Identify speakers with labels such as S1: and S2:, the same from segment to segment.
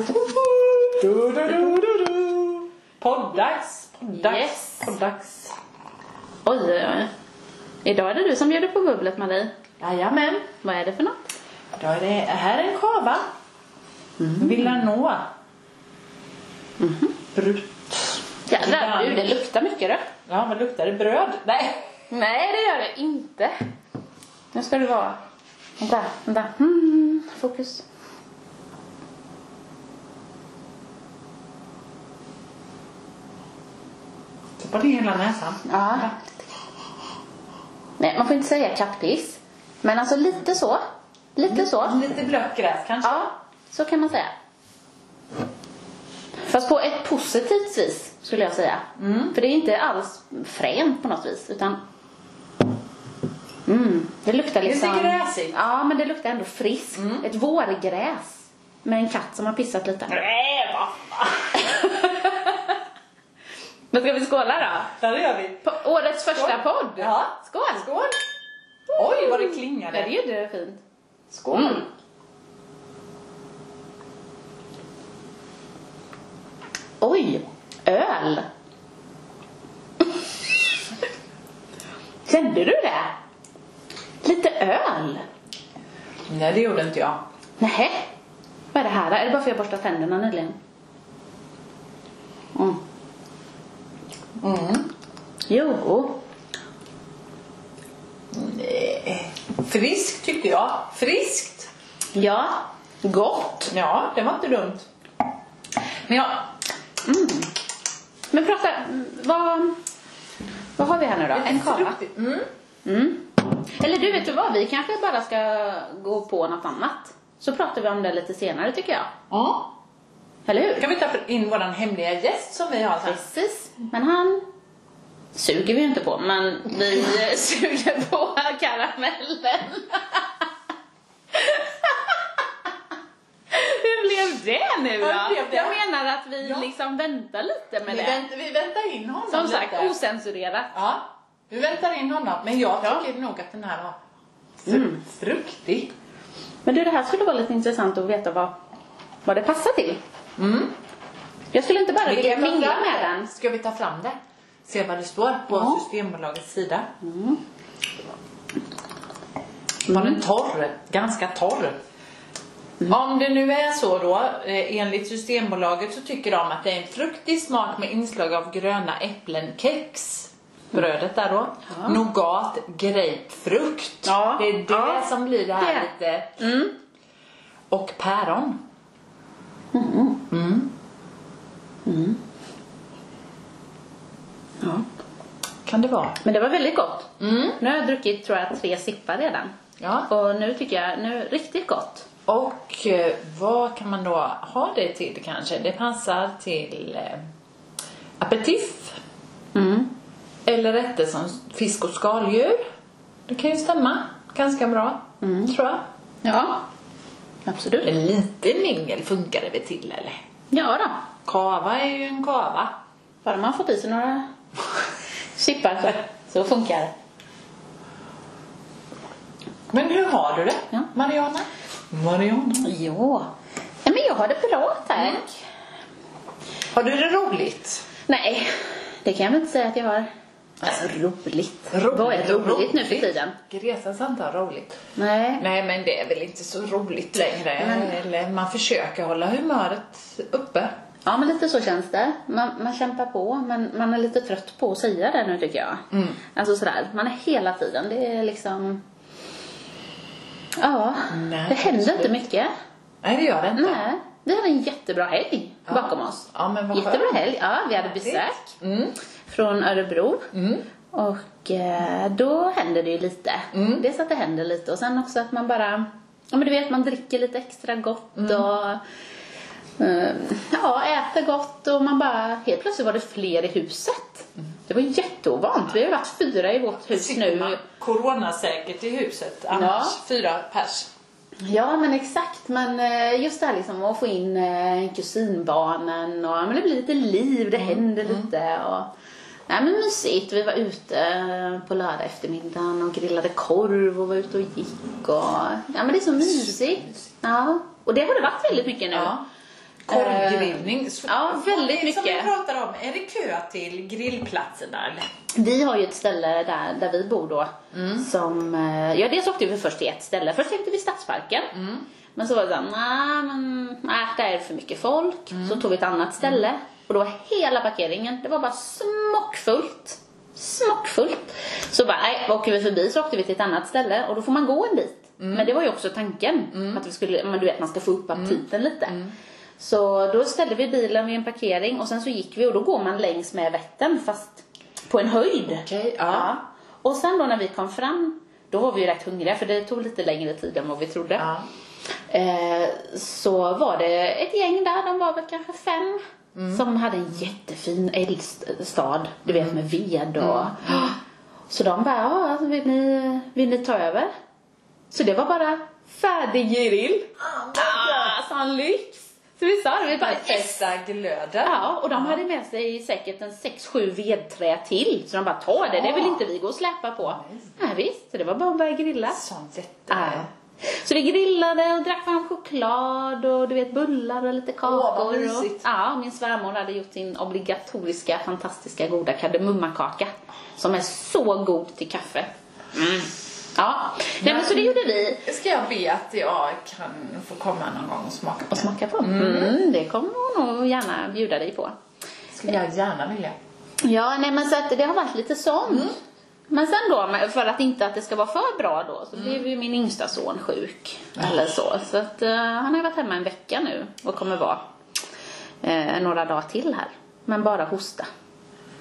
S1: Du, du, du, du, du. Poddags, poddags,
S2: Yes.
S1: poddags.
S2: Oj, oj, oj. Idag är det du som bjuder på bubblet, Marie.
S1: Jajamän.
S2: Vad är det för något?
S1: Då är det här är en kava. Mm. Villanoa. Mm-hmm. Brut.
S2: Jädrar,
S1: Ibland.
S2: du, det luktar mycket då.
S1: Ja, men luktar det bröd? Nej.
S2: Nej, det gör det inte. Nu ska du vara... Vänta, vänta. Mm, fokus.
S1: Stoppa ner hela näsan.
S2: Ja. Nej, man får inte säga kattpiss. Men alltså lite så. Lite så.
S1: Lite blött gräs kanske.
S2: Ja, så kan man säga. Fast på ett positivt vis, skulle jag säga. För det är inte alls fränt på något vis, utan... Mm, det luktar
S1: Lite
S2: liksom...
S1: gräsigt.
S2: Ja, men det luktar ändå friskt. Ett vårgräs. Med en katt som har pissat lite.
S1: Nej, vad
S2: Men ska vi skåla då?
S1: Där gör vi.
S2: På årets första
S1: Skål.
S2: podd!
S1: Ja.
S2: Skål!
S1: Skål. Oj, vad det klingade.
S2: Ja, det gjorde det fint.
S1: Skål.
S2: Mm. Oj! Öl! Kände du det? Lite öl?
S1: Nej, det gjorde inte jag.
S2: Nähä? Vad är det här? Är det bara för att jag borstade tänderna nyligen? Mm.
S1: Mm.
S2: Jo.
S1: Nej. Friskt tyckte jag. Friskt.
S2: Ja. Gott.
S1: Ja, det var inte dumt. Men jag...
S2: Men prata, vad, vad har vi här nu då? En kava?
S1: Mm.
S2: Mm. Eller du, vet du vad? Vi kanske bara ska gå på något annat. Så pratar vi om det lite senare tycker jag.
S1: Ja.
S2: Eller hur?
S1: Kan vi ta in våran hemliga gäst som vi har här?
S2: Precis. Men han suger vi ju inte på, men vi eh, suger på karamellen. Hur blev det nu
S1: Ja,
S2: då?
S1: det blev det.
S2: Jag menar att vi
S1: Ja.
S2: liksom väntar lite med
S1: Vi,
S2: det.
S1: vänt, vi väntar in honom
S2: Som
S1: lite.
S2: sagt, osensurerat.
S1: Ja, vi väntar in honom. Men jag
S2: Ja.
S1: tycker nog att den här var fru-
S2: Mm.
S1: fruktig.
S2: Men du, det här skulle vara lite intressant att veta vad, vad det passar till.
S1: Mm.
S2: Jag skulle inte bara vilja
S1: ta fram
S2: mingla med den.
S1: Ska vi ta fram det? Se vad det står på
S2: Ja. Mm.
S1: Systembolagets sida. Var den torr? Ganska torr.
S2: Mm.
S1: Om det nu är så då, eh, enligt Systembolaget så tycker de att det är en fruktig smak med inslag av gröna äpplen, kex, brödet där då,
S2: Mm. Ja.
S1: nougat, grapefrukt.
S2: Ja.
S1: Det är det
S2: Ja.
S1: som blir det här
S2: Det.
S1: lite.
S2: Mm.
S1: Och päron.
S2: Mm-hmm. Mm. Ja.
S1: Kan det vara?
S2: Men det var väldigt gott.
S1: Mm.
S2: Nu har jag druckit, tror jag, tre sippar redan.
S1: Ja.
S2: Och nu tycker jag, nu, riktigt gott.
S1: Och eh, vad kan man då ha det till kanske? Det passar till eh, aperitif
S2: Mm.
S1: eller rätter som fisk och skaldjur. Det kan ju stämma ganska bra,
S2: Mm.
S1: tror jag.
S2: Ja. Absolut.
S1: Men lite mingel funkar det väl till eller?
S2: Ja då.
S1: Kava är ju en kava.
S2: Bara man fått i sig några sippar så, så funkar det.
S1: Men hur har du det,
S2: Ja.
S1: Mariana? Mariana?
S2: Jo. Mm. Nej, men jag har det bra, tack.
S1: Har du det roligt?
S2: Nej, det kan jag väl inte säga att jag har. Alltså, roligt. Vad är roligt, nu för tiden?
S1: Greta sa inte ha roligt.
S2: Nej.
S1: Nej, men det är väl inte så roligt längre.
S2: Men-
S1: Eller man försöker hålla humöret uppe.
S2: Ja, men lite så känns det. Man, man kämpar på, men man är lite trött på att säga det nu tycker jag.
S1: Mm.
S2: Alltså sådär, man är hela tiden, det är liksom... Ja,
S1: Nej,
S2: det händer inte mycket.
S1: Nej, det gör det inte.
S2: Nej, vi hade en jättebra helg
S1: Ja.
S2: Mm. bakom oss.
S1: Ja, men vad
S2: Jättebra
S1: skönt.
S2: helg, ja, vi hade
S1: Härligt.
S2: besök
S1: Mm.
S2: från Örebro.
S1: Mm.
S2: Och eh, då händer det ju lite.
S1: Mm.
S2: Dels att det händer lite och sen också att man bara, ja men du vet man dricker lite extra gott
S1: Mm.
S2: och eh, ja, äter gott och man bara, helt plötsligt var det fler i huset.
S1: Mm.
S2: Det var jätteovant. Vi har ju varit fyra i vårt hus
S1: Sitter
S2: nu.
S1: man coronasäkert i huset annars?
S2: Ja.
S1: Fyra pers.
S2: Ja men exakt, men eh, just det här liksom att få in eh, kusinbarnen och ja, men det blir lite liv, det händer lite och Nej men mysigt, vi var ute eh, på lördag eftermiddagen och grillade korv och var ute och gick och Ja men det är så mysigt. Ja, och det har det varit väldigt mycket nu.
S1: Ja. Korvgrillning. Så-
S2: Eh, ja, väldigt
S1: Som vi
S2: mycket.
S1: pratar om, är det kö till grillplatserna eller?
S2: Vi har ju ett ställe där, där vi bor då. Som, eh, ja, dels åkte vi först till ett ställe. Först åkte vi till Stadsparken. Men så var det såhär, nej men nej, där är det för mycket folk. Så tog vi ett annat ställe. Och då var hela parkeringen, det var bara smockfullt. Smockfullt. Så bara, nej, åker vi förbi så åkte vi till ett annat ställe och då får man gå en bit. Men det var ju också tanken. Att vi skulle, men du vet man ska få upp aptiten lite. Så då ställde vi bilen vid en parkering och sen så gick vi och då går man längs med Vättern fast på en höjd.
S1: Okej, ja.
S2: Och sen då när vi kom fram, då var vi ju rätt hungriga för det tog lite längre tid än vad vi trodde.
S1: Ja.
S2: Eh, så var det ett gäng där, de var väl kanske fem.
S1: Mm.
S2: Som hade en jättefin eldstad, du vet med ved och...
S1: Mm.
S2: Så de bara, ja, alltså, vill, ni, vill ni ta över? Så det var bara färdig
S1: Oh
S2: grill. Ah, sån lyx! Så vi sa det, vi bara yes!
S1: Fästa glöden.
S2: Ja, och de hade med sig säkert en 6-7 vedträ till. Så de bara, ta det, det vill inte vi gå och släpa på. Nej visst, så det var bara att börja grilla.
S1: Sånt jätte...
S2: Ja. Så vi grillade och drack varm choklad och du vet bullar och lite kakor.
S1: Åh, vad
S2: och-
S1: mysigt.
S2: Ja, min svärmor hade gjort sin obligatoriska fantastiska goda kardemummakaka. Som är så god till kaffe. Mm. Ja, Nej, men så det gjorde vi.
S1: Ska jag be att jag kan få komma någon gång och smaka på
S2: Och
S1: det?
S2: smaka på. Mm, det kommer hon nog gärna bjuda dig på.
S1: Skulle jag gärna vilja.
S2: Ja, nej men så att det har varit lite sånt. Men sen då, men för att inte att det ska vara för bra då, så blev ju min yngsta son sjuk. Eller så. Så att eh, han har varit hemma en vecka nu och kommer vara eh, några dagar till här. Men bara hosta.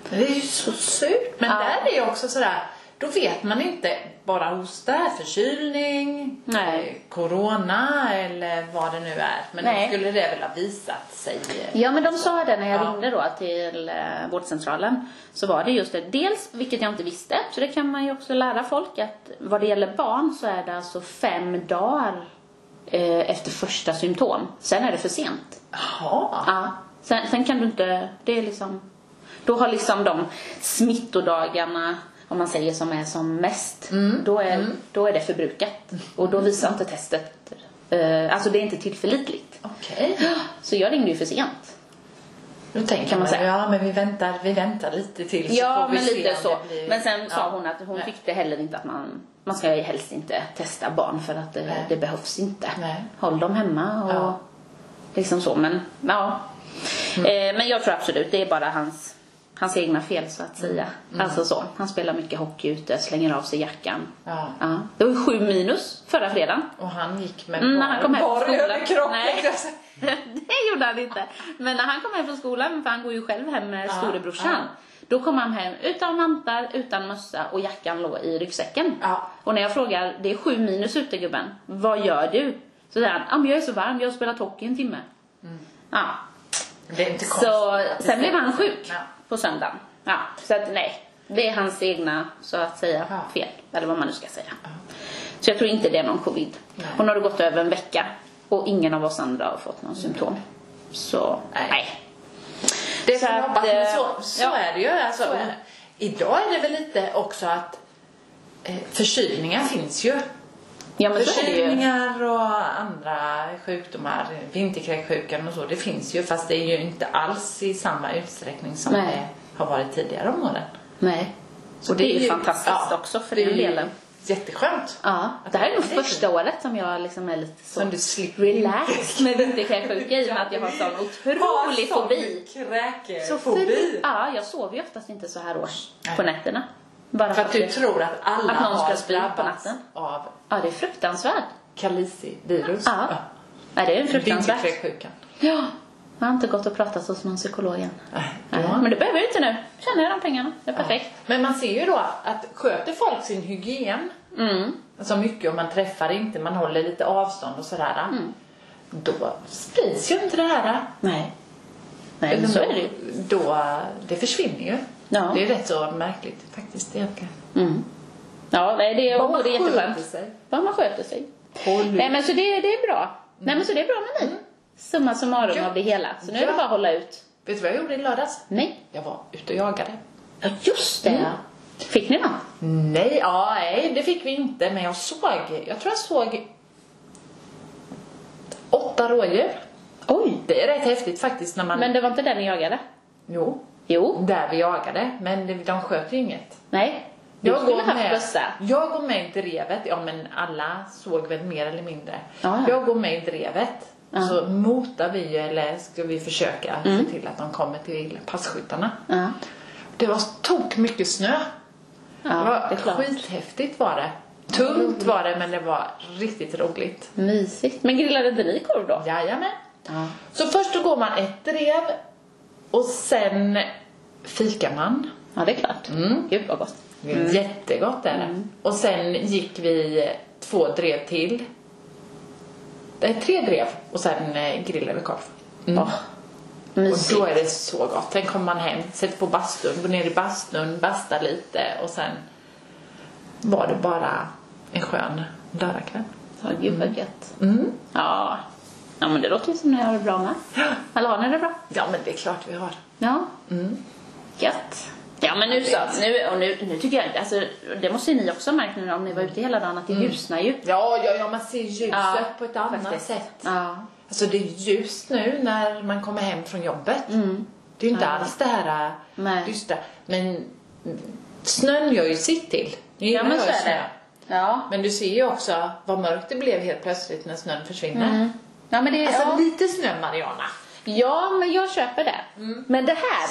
S1: Men Det är ju så surt. Men
S2: Ja.
S1: där är ju också sådär, då vet man inte. Bara hosta, förkylning,
S2: Nej.
S1: eh, corona eller vad det nu är. Men
S2: Nej.
S1: då skulle det väl ha visat sig. eh,
S2: Ja men de sa det när jag
S1: Ja.
S2: ringde då till eh, vårdcentralen. Så var det just det. Dels, vilket jag inte visste, så det kan man ju också lära folk att vad det gäller barn så är det alltså fem dagar eh, efter första symptom. Sen är det för sent.
S1: Jaha.
S2: Ja. Sen, sen kan du inte, det är liksom, då har liksom de smittodagarna, om man säger som är som mest, då, är, då är det förbrukat. Och då visar inte testet, eh, alltså det är inte tillförlitligt.
S1: Okej.
S2: Så jag ringde ju för sent.
S1: Då tänker
S2: Kan
S1: man
S2: man
S1: så här,
S2: säga.
S1: ja men vi väntar, vi väntar lite till så
S2: Ja,
S1: får vi
S2: men
S1: se
S2: lite
S1: om
S2: så.
S1: det blir-
S2: Men sen sa
S1: Ja.
S2: hon att hon
S1: Nej.
S2: tyckte heller inte att man, man ska ju helst inte testa barn för att det,
S1: Nej.
S2: det behövs inte.
S1: Nej.
S2: Håll dem hemma och
S1: Ja.
S2: liksom så. Men ja.
S1: Mm.
S2: Eh, men jag tror absolut det är bara hans, hans egna fel så att säga.
S1: Mm.
S2: Alltså så. Han spelar mycket hockey ute, slänger av sig jackan.
S1: Ja.
S2: Ja. Det var ju sju minus förra fredagen.
S1: Och han gick med
S2: Mm, när han kom hem från
S1: bara
S2: skolan.
S1: över kroppen.
S2: Nej.
S1: tänkte jag säga.
S2: det gjorde han inte. Men när han kom hem från skolan, för han går ju själv hem med
S1: Ja,
S2: storebrorsan. Då kom han hem utan vantar, utan mössa och jackan låg i ryggsäcken.
S1: Ja.
S2: Och när jag frågar, det är sju minus ute gubben, vad gör du? Så säger han, "Ja, men jag är så varm, jag har spelat hockey en timme.
S1: Mm.
S2: Ja.
S1: Det är inte konstigt.
S2: Så
S1: att det
S2: sen blev
S1: säger
S2: han
S1: så.
S2: sjuk
S1: Ja.
S2: på söndagen. Ja. Så att nej, det är hans egna, så att säga,
S1: Ja.
S2: fel. Eller vad man nu ska säga. Så jag tror inte det är någon covid.
S1: Nej.
S2: Och nu har det gått över en vecka och ingen av oss andra har fått någon symptom. Så
S1: Nej.
S2: nej.
S1: Det är
S2: Så
S1: så,
S2: att,
S1: att, men så,
S2: eh,
S1: så
S2: ja.
S1: är det ju. Alltså,
S2: Så är det.
S1: Idag är det väl lite också att eh, förkylningar finns ju.
S2: Ja men så är det ju.
S1: Förkylningar och andra sjukdomar, vinterkräksjukan och så, det finns ju fast det är ju inte alls i samma utsträckning som
S2: Nej.
S1: det har varit tidigare om åren.
S2: Nej.
S1: Så
S2: och det, är ju fantastiskt också för
S1: det är
S2: den
S1: ju
S2: delen.
S1: Jätteskönt.
S2: Ja,
S1: Att
S2: det här är nog
S1: det är
S2: första året som jag liksom är lite så
S1: Som du slipper
S2: relaxed med vinterkräksjuka i och med att jag har sån otrolig
S1: Har sån
S2: fobi. Så
S1: Kräkefobi.
S2: för, ja, jag sover ju oftast inte så här års på
S1: Nej.
S2: nätterna. Bara
S1: För att du
S2: det-
S1: tror att alla
S2: Att någon ska
S1: har
S2: spy på
S1: drabbats
S2: natten.
S1: av
S2: Ja, det är fruktansvärt.
S1: kalicivirus.
S2: Ja. Nej, det är fruktansvärt.
S1: Vinterkräksjukan.
S2: Ja. Jag har inte gått och pratat hos någon psykolog än.
S1: Nej,
S2: Nej,
S1: ja.
S2: Men det behöver jag inte nu. Tjänar jag de pengarna. Det är perfekt.
S1: Men man ser ju då att sköter folk sin hygien
S2: Mm.
S1: så mycket och man träffar inte, man håller lite avstånd och sådär.
S2: Mm.
S1: Då sprids ju inte det här.
S2: Nej. Nej, men så är det ju.
S1: Då, det försvinner ju.
S2: Ja.
S1: Det är rätt så märkligt faktiskt egentligen.
S2: Mm. Ja, nej, det är,
S1: man
S2: och det är jätteskönt.
S1: sköter sig. Mm.
S2: Vad man sköter sig.
S1: Håll ut.
S2: Nej, men så det, det är bra. Nej, men så det är bra med mig. Summa summarum
S1: Mm. Ja.
S2: av det hela. Så nu är det
S1: Ja. Mm.
S2: bara att hålla ut.
S1: Vet du vad jag gjorde i lördags?
S2: Nej.
S1: Jag var ute och jagade.
S2: Ja, just det.
S1: Mm.
S2: Fick ni något?
S1: Nej, ja, nej, det fick vi inte. Men jag såg, jag tror jag såg åtta rådjur.
S2: Oj!
S1: Det är rätt häftigt faktiskt när man...
S2: Men det var inte den ni jagade?
S1: Jo,
S2: Jo.
S1: där vi jagade. Men det- de sköt ju inget.
S2: Nej. Du
S1: Jag
S2: skulle
S1: går
S2: haft
S1: med.
S2: bössa.
S1: Jag går med i drevet. Ja, men alla såg väl mer eller mindre.
S2: Ja, ja.
S1: Jag går med i drevet.
S2: Ja. Mm.
S1: Så motar vi ju, eller ska vi försöka se till att de kommer till passkyttarna.
S2: Ja.
S1: Det var tok mycket snö.
S2: Ja,
S1: det var
S2: det är klart. Mm.
S1: skithäftigt var det. Tungt var det, men det var riktigt roligt.
S2: Mysigt. Men grillade inte ni korv då?
S1: Jajamän.
S2: Ja.
S1: Så först då går man ett drev och sen fikar man.
S2: Ja, det är klart. Gud vad gott.
S1: Det är Jättegott är det.
S2: Mm.
S1: Och sen gick vi två drev till. Nej, tre drev och sen eh, grillade vi korv.
S2: Åh,
S1: Och
S2: mysigt.
S1: då är det så gott. Sen kommer man hem, sätter på bastun, går ner i bastun, bastar lite och sen var det bara en skön lördagkväll.
S2: Ja, gud vad gött.
S1: Mm.
S2: Ja. ja, men det låter ju som ni har det bra med. Eller har ni det bra?
S1: Ja men det är klart vi har.
S2: Ja. Gött. Mm. Ja men nu så, nu, och nu, nu tycker jag, alltså, det måste ju ni också ha märkt nu om ni var ute hela dagen att det ljusnar ju.
S1: Ja, ja, ja man ser ljuset
S2: Ja,
S1: på ett annat
S2: faktiskt.
S1: sätt.
S2: Ja.
S1: Alltså det är ljust nu när man kommer hem från jobbet. Det är ju inte alls det här
S2: Mm. Nej.
S1: äh, dystra. Men mm, snön gör ju sitt till.
S2: Ja
S1: Nu gillar
S2: men
S1: jag
S2: så
S1: ju
S2: är
S1: snö.
S2: det. Ja.
S1: Men du ser ju också vad mörkt det blev helt plötsligt när snön försvinner.
S2: Ja men det,
S1: Alltså
S2: Mm. ja.
S1: lite snö Mariana.
S2: ja men jag köper det. Men det här. Mm.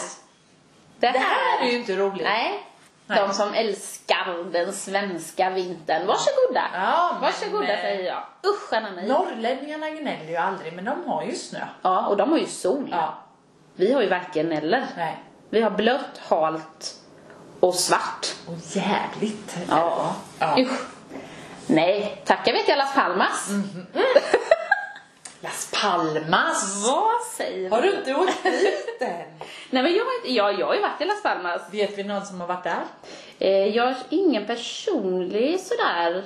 S2: Det här.
S1: Det här är ju inte roligt.
S2: Nej.
S1: Nej.
S2: De som älskar den svenska vintern. Varsågoda.
S1: Ja, men,
S2: Varsågoda
S1: eh,
S2: säger jag. Usch anna mig.
S1: Norrlänningarna gnäller ju aldrig men de har ju snö.
S2: Ja och de har ju sol.
S1: Ja.
S2: Vi har ju varken eller.
S1: Nej.
S2: Vi har blött, halt och svart.
S1: Och jävligt.
S2: Ja.
S1: Ja.
S2: Usch. Nej, tackar vi till Las Palmas.
S1: Mm. Las Palmas.
S2: Vad säger
S1: Har du inte åkt dit än?
S2: Nej men jag, har inte- ja, jag har ju varit i Las Palmas.
S1: Vet vi någon som har varit där?
S2: Eh, jag har ingen personlig sådär.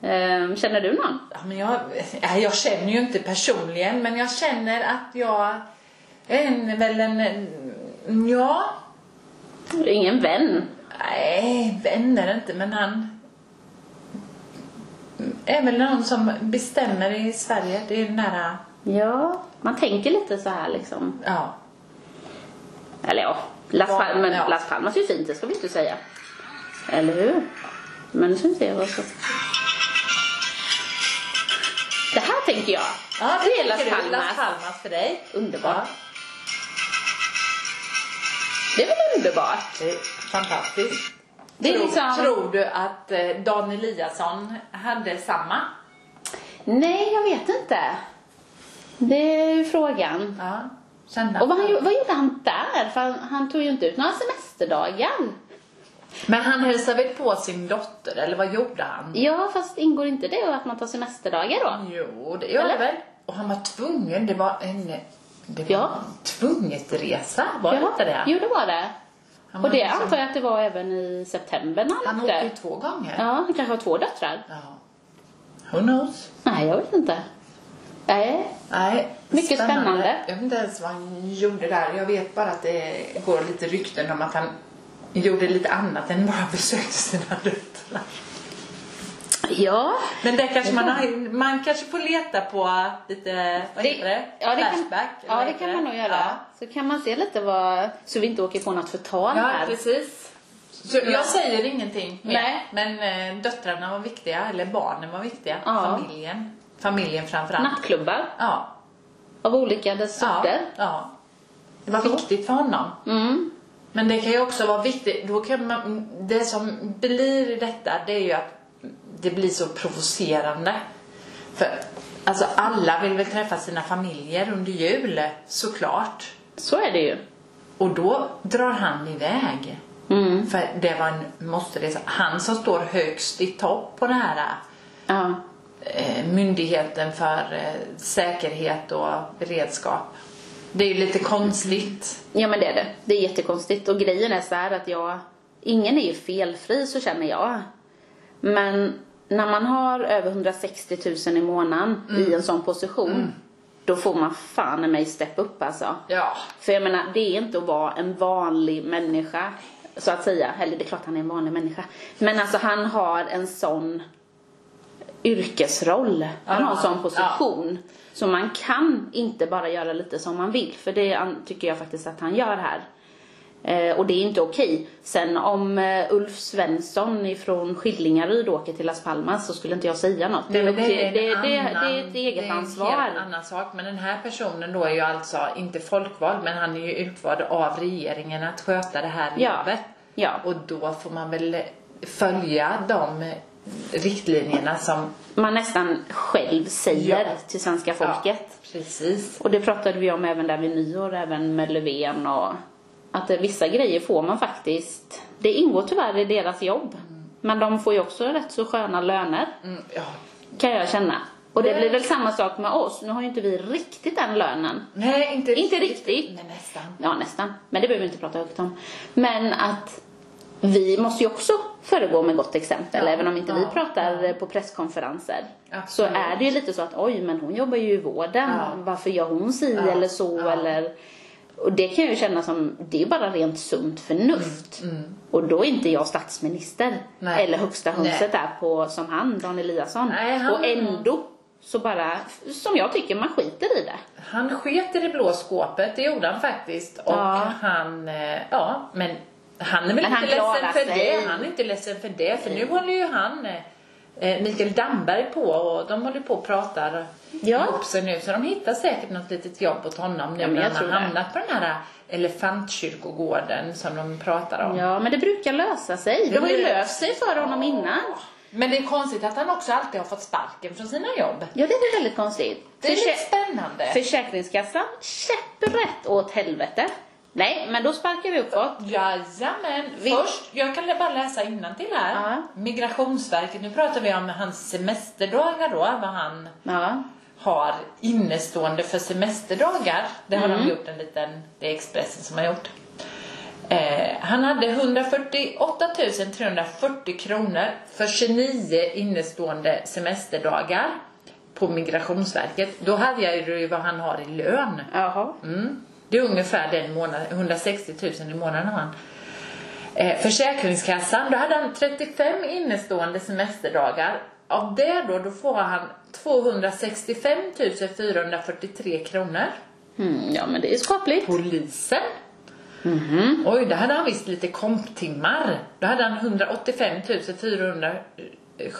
S2: Eh, känner du någon?
S1: Ja, men jag, nej, jag känner ju inte personligen men jag känner att jag är en, väl en, en ja,
S2: Ingen vän?
S1: nej vänner inte men han är väl någon som bestämmer i Sverige. Det är ju nära,
S2: Ja, man tänker lite så här liksom.
S1: ja.
S2: Eller ja, Las,
S1: Ja,
S2: Pal- men
S1: ja.
S2: Las Palmas är ju fint, det ska vi inte säga. Eller hur? Men nu ska vi se vad så. Det här tänker jag.
S1: Ja,
S2: det är Las
S1: tycker du,
S2: Palmas.
S1: Las Palmas för dig.
S2: Underbart.
S1: Ja,
S2: Det är väl underbart?
S1: det är fantastiskt.
S2: Det är
S1: tror,
S2: liksom-
S1: tror du att eh, Dan Eliasson hade samma?
S2: Nej, jag vet inte. Det är ju frågan.
S1: Ja, kände
S2: Och vad, han, gjo- vad gjorde han där? För han, han tog ju inte ut några semesterdagar.
S1: Men han hälsade väl på sin dotter, eller vad gjorde han?
S2: Ja, fast ingår inte det att man tar semesterdagar då?
S1: Jo, det gör det
S2: Eller?
S1: väl. Och han var tvungen, det var en... Det var
S2: Ja.
S1: en tvunget resa, var det inte det?
S2: Jo, det var det.
S1: Han var
S2: Och det
S1: liksom-
S2: antar jag att det var även i september när han,
S1: Han åkte ju två gånger.
S2: Ja, han kanske har två döttrar.
S1: ja. Who knows?
S2: Nej, jag vet inte. Nej.
S1: Nej,
S2: Mycket spännande.
S1: Jag vet inte ens vad han gjorde där. Jag vet bara att det går lite rykten om att han gjorde lite annat än bara besökte sina rötter.
S2: Ja.
S1: Men där kanske man, har, man kanske får leta på lite, vad heter det?
S2: Ja, det kan,
S1: Flashback? eller
S2: ja,
S1: vad
S2: det
S1: heter
S2: kan man nog göra.
S1: Ja.
S2: Så kan man se lite vad... Så vi inte åker på något förtal
S1: Ja,
S2: här.
S1: precis. Så jag säger ingenting mer.
S2: Nej.
S1: Men eh, döttrarna var viktiga, eller barnen var viktiga.
S2: Ja.
S1: Familjen. Familjen framförallt.
S2: Nattklubbar
S1: Ja.
S2: av olika dess sorter.
S1: Ja. ja. Det var viktigt för honom.
S2: Mm.
S1: Men det kan ju också vara viktigt, då kan man, det som blir i detta det är ju att det blir så provocerande. För alltså alla vill väl träffa sina familjer under jul, såklart.
S2: Så är det ju.
S1: Och då drar han iväg.
S2: Mm.
S1: För det var en måste Han som står högst i topp på den här
S2: Ja.
S1: eh, myndigheten för eh, säkerhet och beredskap. Det är ju lite konstigt.
S2: ja, men det är det. Det är jättekonstigt. Och grejen är så här att jag... Ingen är ju felfri, så känner jag. Men när man har över 160 000 i månaden
S1: Mm.
S2: i en sån position. Då får man fan i mig step upp alltså.
S1: Ja.
S2: För jag menar, det är inte att vara en vanlig människa. Så att säga. Eller det är klart han är en vanlig människa. Men alltså han har en sån yrkesroll. Man har en sån
S1: Ja.
S2: position. Så man kan inte bara göra lite som man vill. För det an- tycker jag faktiskt att han gör här. Eh, och det är inte okej. Sen om eh, Ulf Svensson ifrån Skillingaryd åker till Las Palmas så skulle inte jag säga något.
S1: Nej, men
S2: det, det,
S1: en
S2: det,
S1: annan-
S2: det är ett eget
S1: det är en
S2: ansvar.
S1: helt annan sak. Men den här personen då är ju alltså inte folkvald, men han är ju utvald av regeringen att sköta det här
S2: Ja,
S1: jobbet.
S2: ja.
S1: Och då får man väl följa de riktlinjerna som...
S2: man nästan själv säger till svenska folket.
S1: Ja, precis.
S2: Och det pratade vi om även där vid nyår, även med Löfven och att eh, vissa grejer får man faktiskt. Det ingår tyvärr i deras jobb. Men de får ju också rätt så sköna löner
S1: Mm, ja.
S2: kan jag känna. Och det
S1: Nej.
S2: blir väl samma sak med oss. Nu har ju inte vi riktigt den lönen.
S1: Nej, inte riktigt.
S2: Inte riktigt.
S1: Men nästan.
S2: Ja, nästan. Men det behöver vi inte prata högt om. Men att vi måste ju också föregå med gott exempel.
S1: Ja.
S2: Även om inte vi
S1: Ja.
S2: pratar eh, på presskonferenser.
S1: Absolut.
S2: Så är det ju lite så att oj, men hon jobbar ju i vården.
S1: Ja.
S2: Varför gör hon si
S1: Ja.
S2: eller så
S1: Ja.
S2: eller... Och det kan jag ju känna som, det är bara rent sunt förnuft. Och då är inte jag statsminister.
S1: Mm, Nej.
S2: Eller högsta hönset där på, som han, Dan Eliasson.
S1: Nej, han-
S2: Och ändå så bara, som jag tycker, man skiter i det.
S1: Han sket i det blå skåpet, det gjorde han faktiskt. Och
S2: Ja.
S1: han, eh, ja, men han är väl
S2: Men
S1: inte
S2: han
S1: ledsen
S2: klarar
S1: för
S2: sig.
S1: det. Han är inte ledsen för det, för nu håller ju han, eh, eh, Mikael Damberg på och de håller på och pratar
S2: Ja.
S1: ihop sig nu. Så de hittar säkert något litet jobb åt honom nu
S2: Ja, men
S1: när
S2: jag
S1: han har
S2: tror det.
S1: hamnat på den här eh, elefantkyrkogården som de pratar om.
S2: Ja, men det brukar lösa sig. Det har ju löst sig för honom innan.
S1: Men det är konstigt att han också alltid har fått sparken från sina jobb.
S2: Ja, det är väldigt konstigt.
S1: Det är lite
S2: Försä-
S1: spännande.
S2: Försäkringskassan käpprätt åt helvete. Nej, men då sparkar vi uppåt.
S1: Jajamän.
S2: Vi-
S1: Först, jag kan bara läsa innantill här.
S2: Ja.
S1: Migrationsverket, nu pratar vi om hans semesterdagar då, vad han
S2: Ja,
S1: har innestående för semesterdagar. Det har
S2: Mm.
S1: de gjort en liten, det är Expressen som har gjort. Eh, han hade 148 340 kronor för 29 innestående semesterdagar på Migrationsverket. Då hade jag ju vad han har i lön.
S2: jaha.
S1: Mm. Det är ungefär den månaden, 160 000 i månaden har han. Eh, Försäkringskassan, då hade han 35 innestående semesterdagar. Av det då, då får han 265 443 kronor.
S2: Mm, ja, men det är skapligt.
S1: Polisen.
S2: Mhm.
S1: Oj, där hade han visst lite komptimmar. Då hade han 185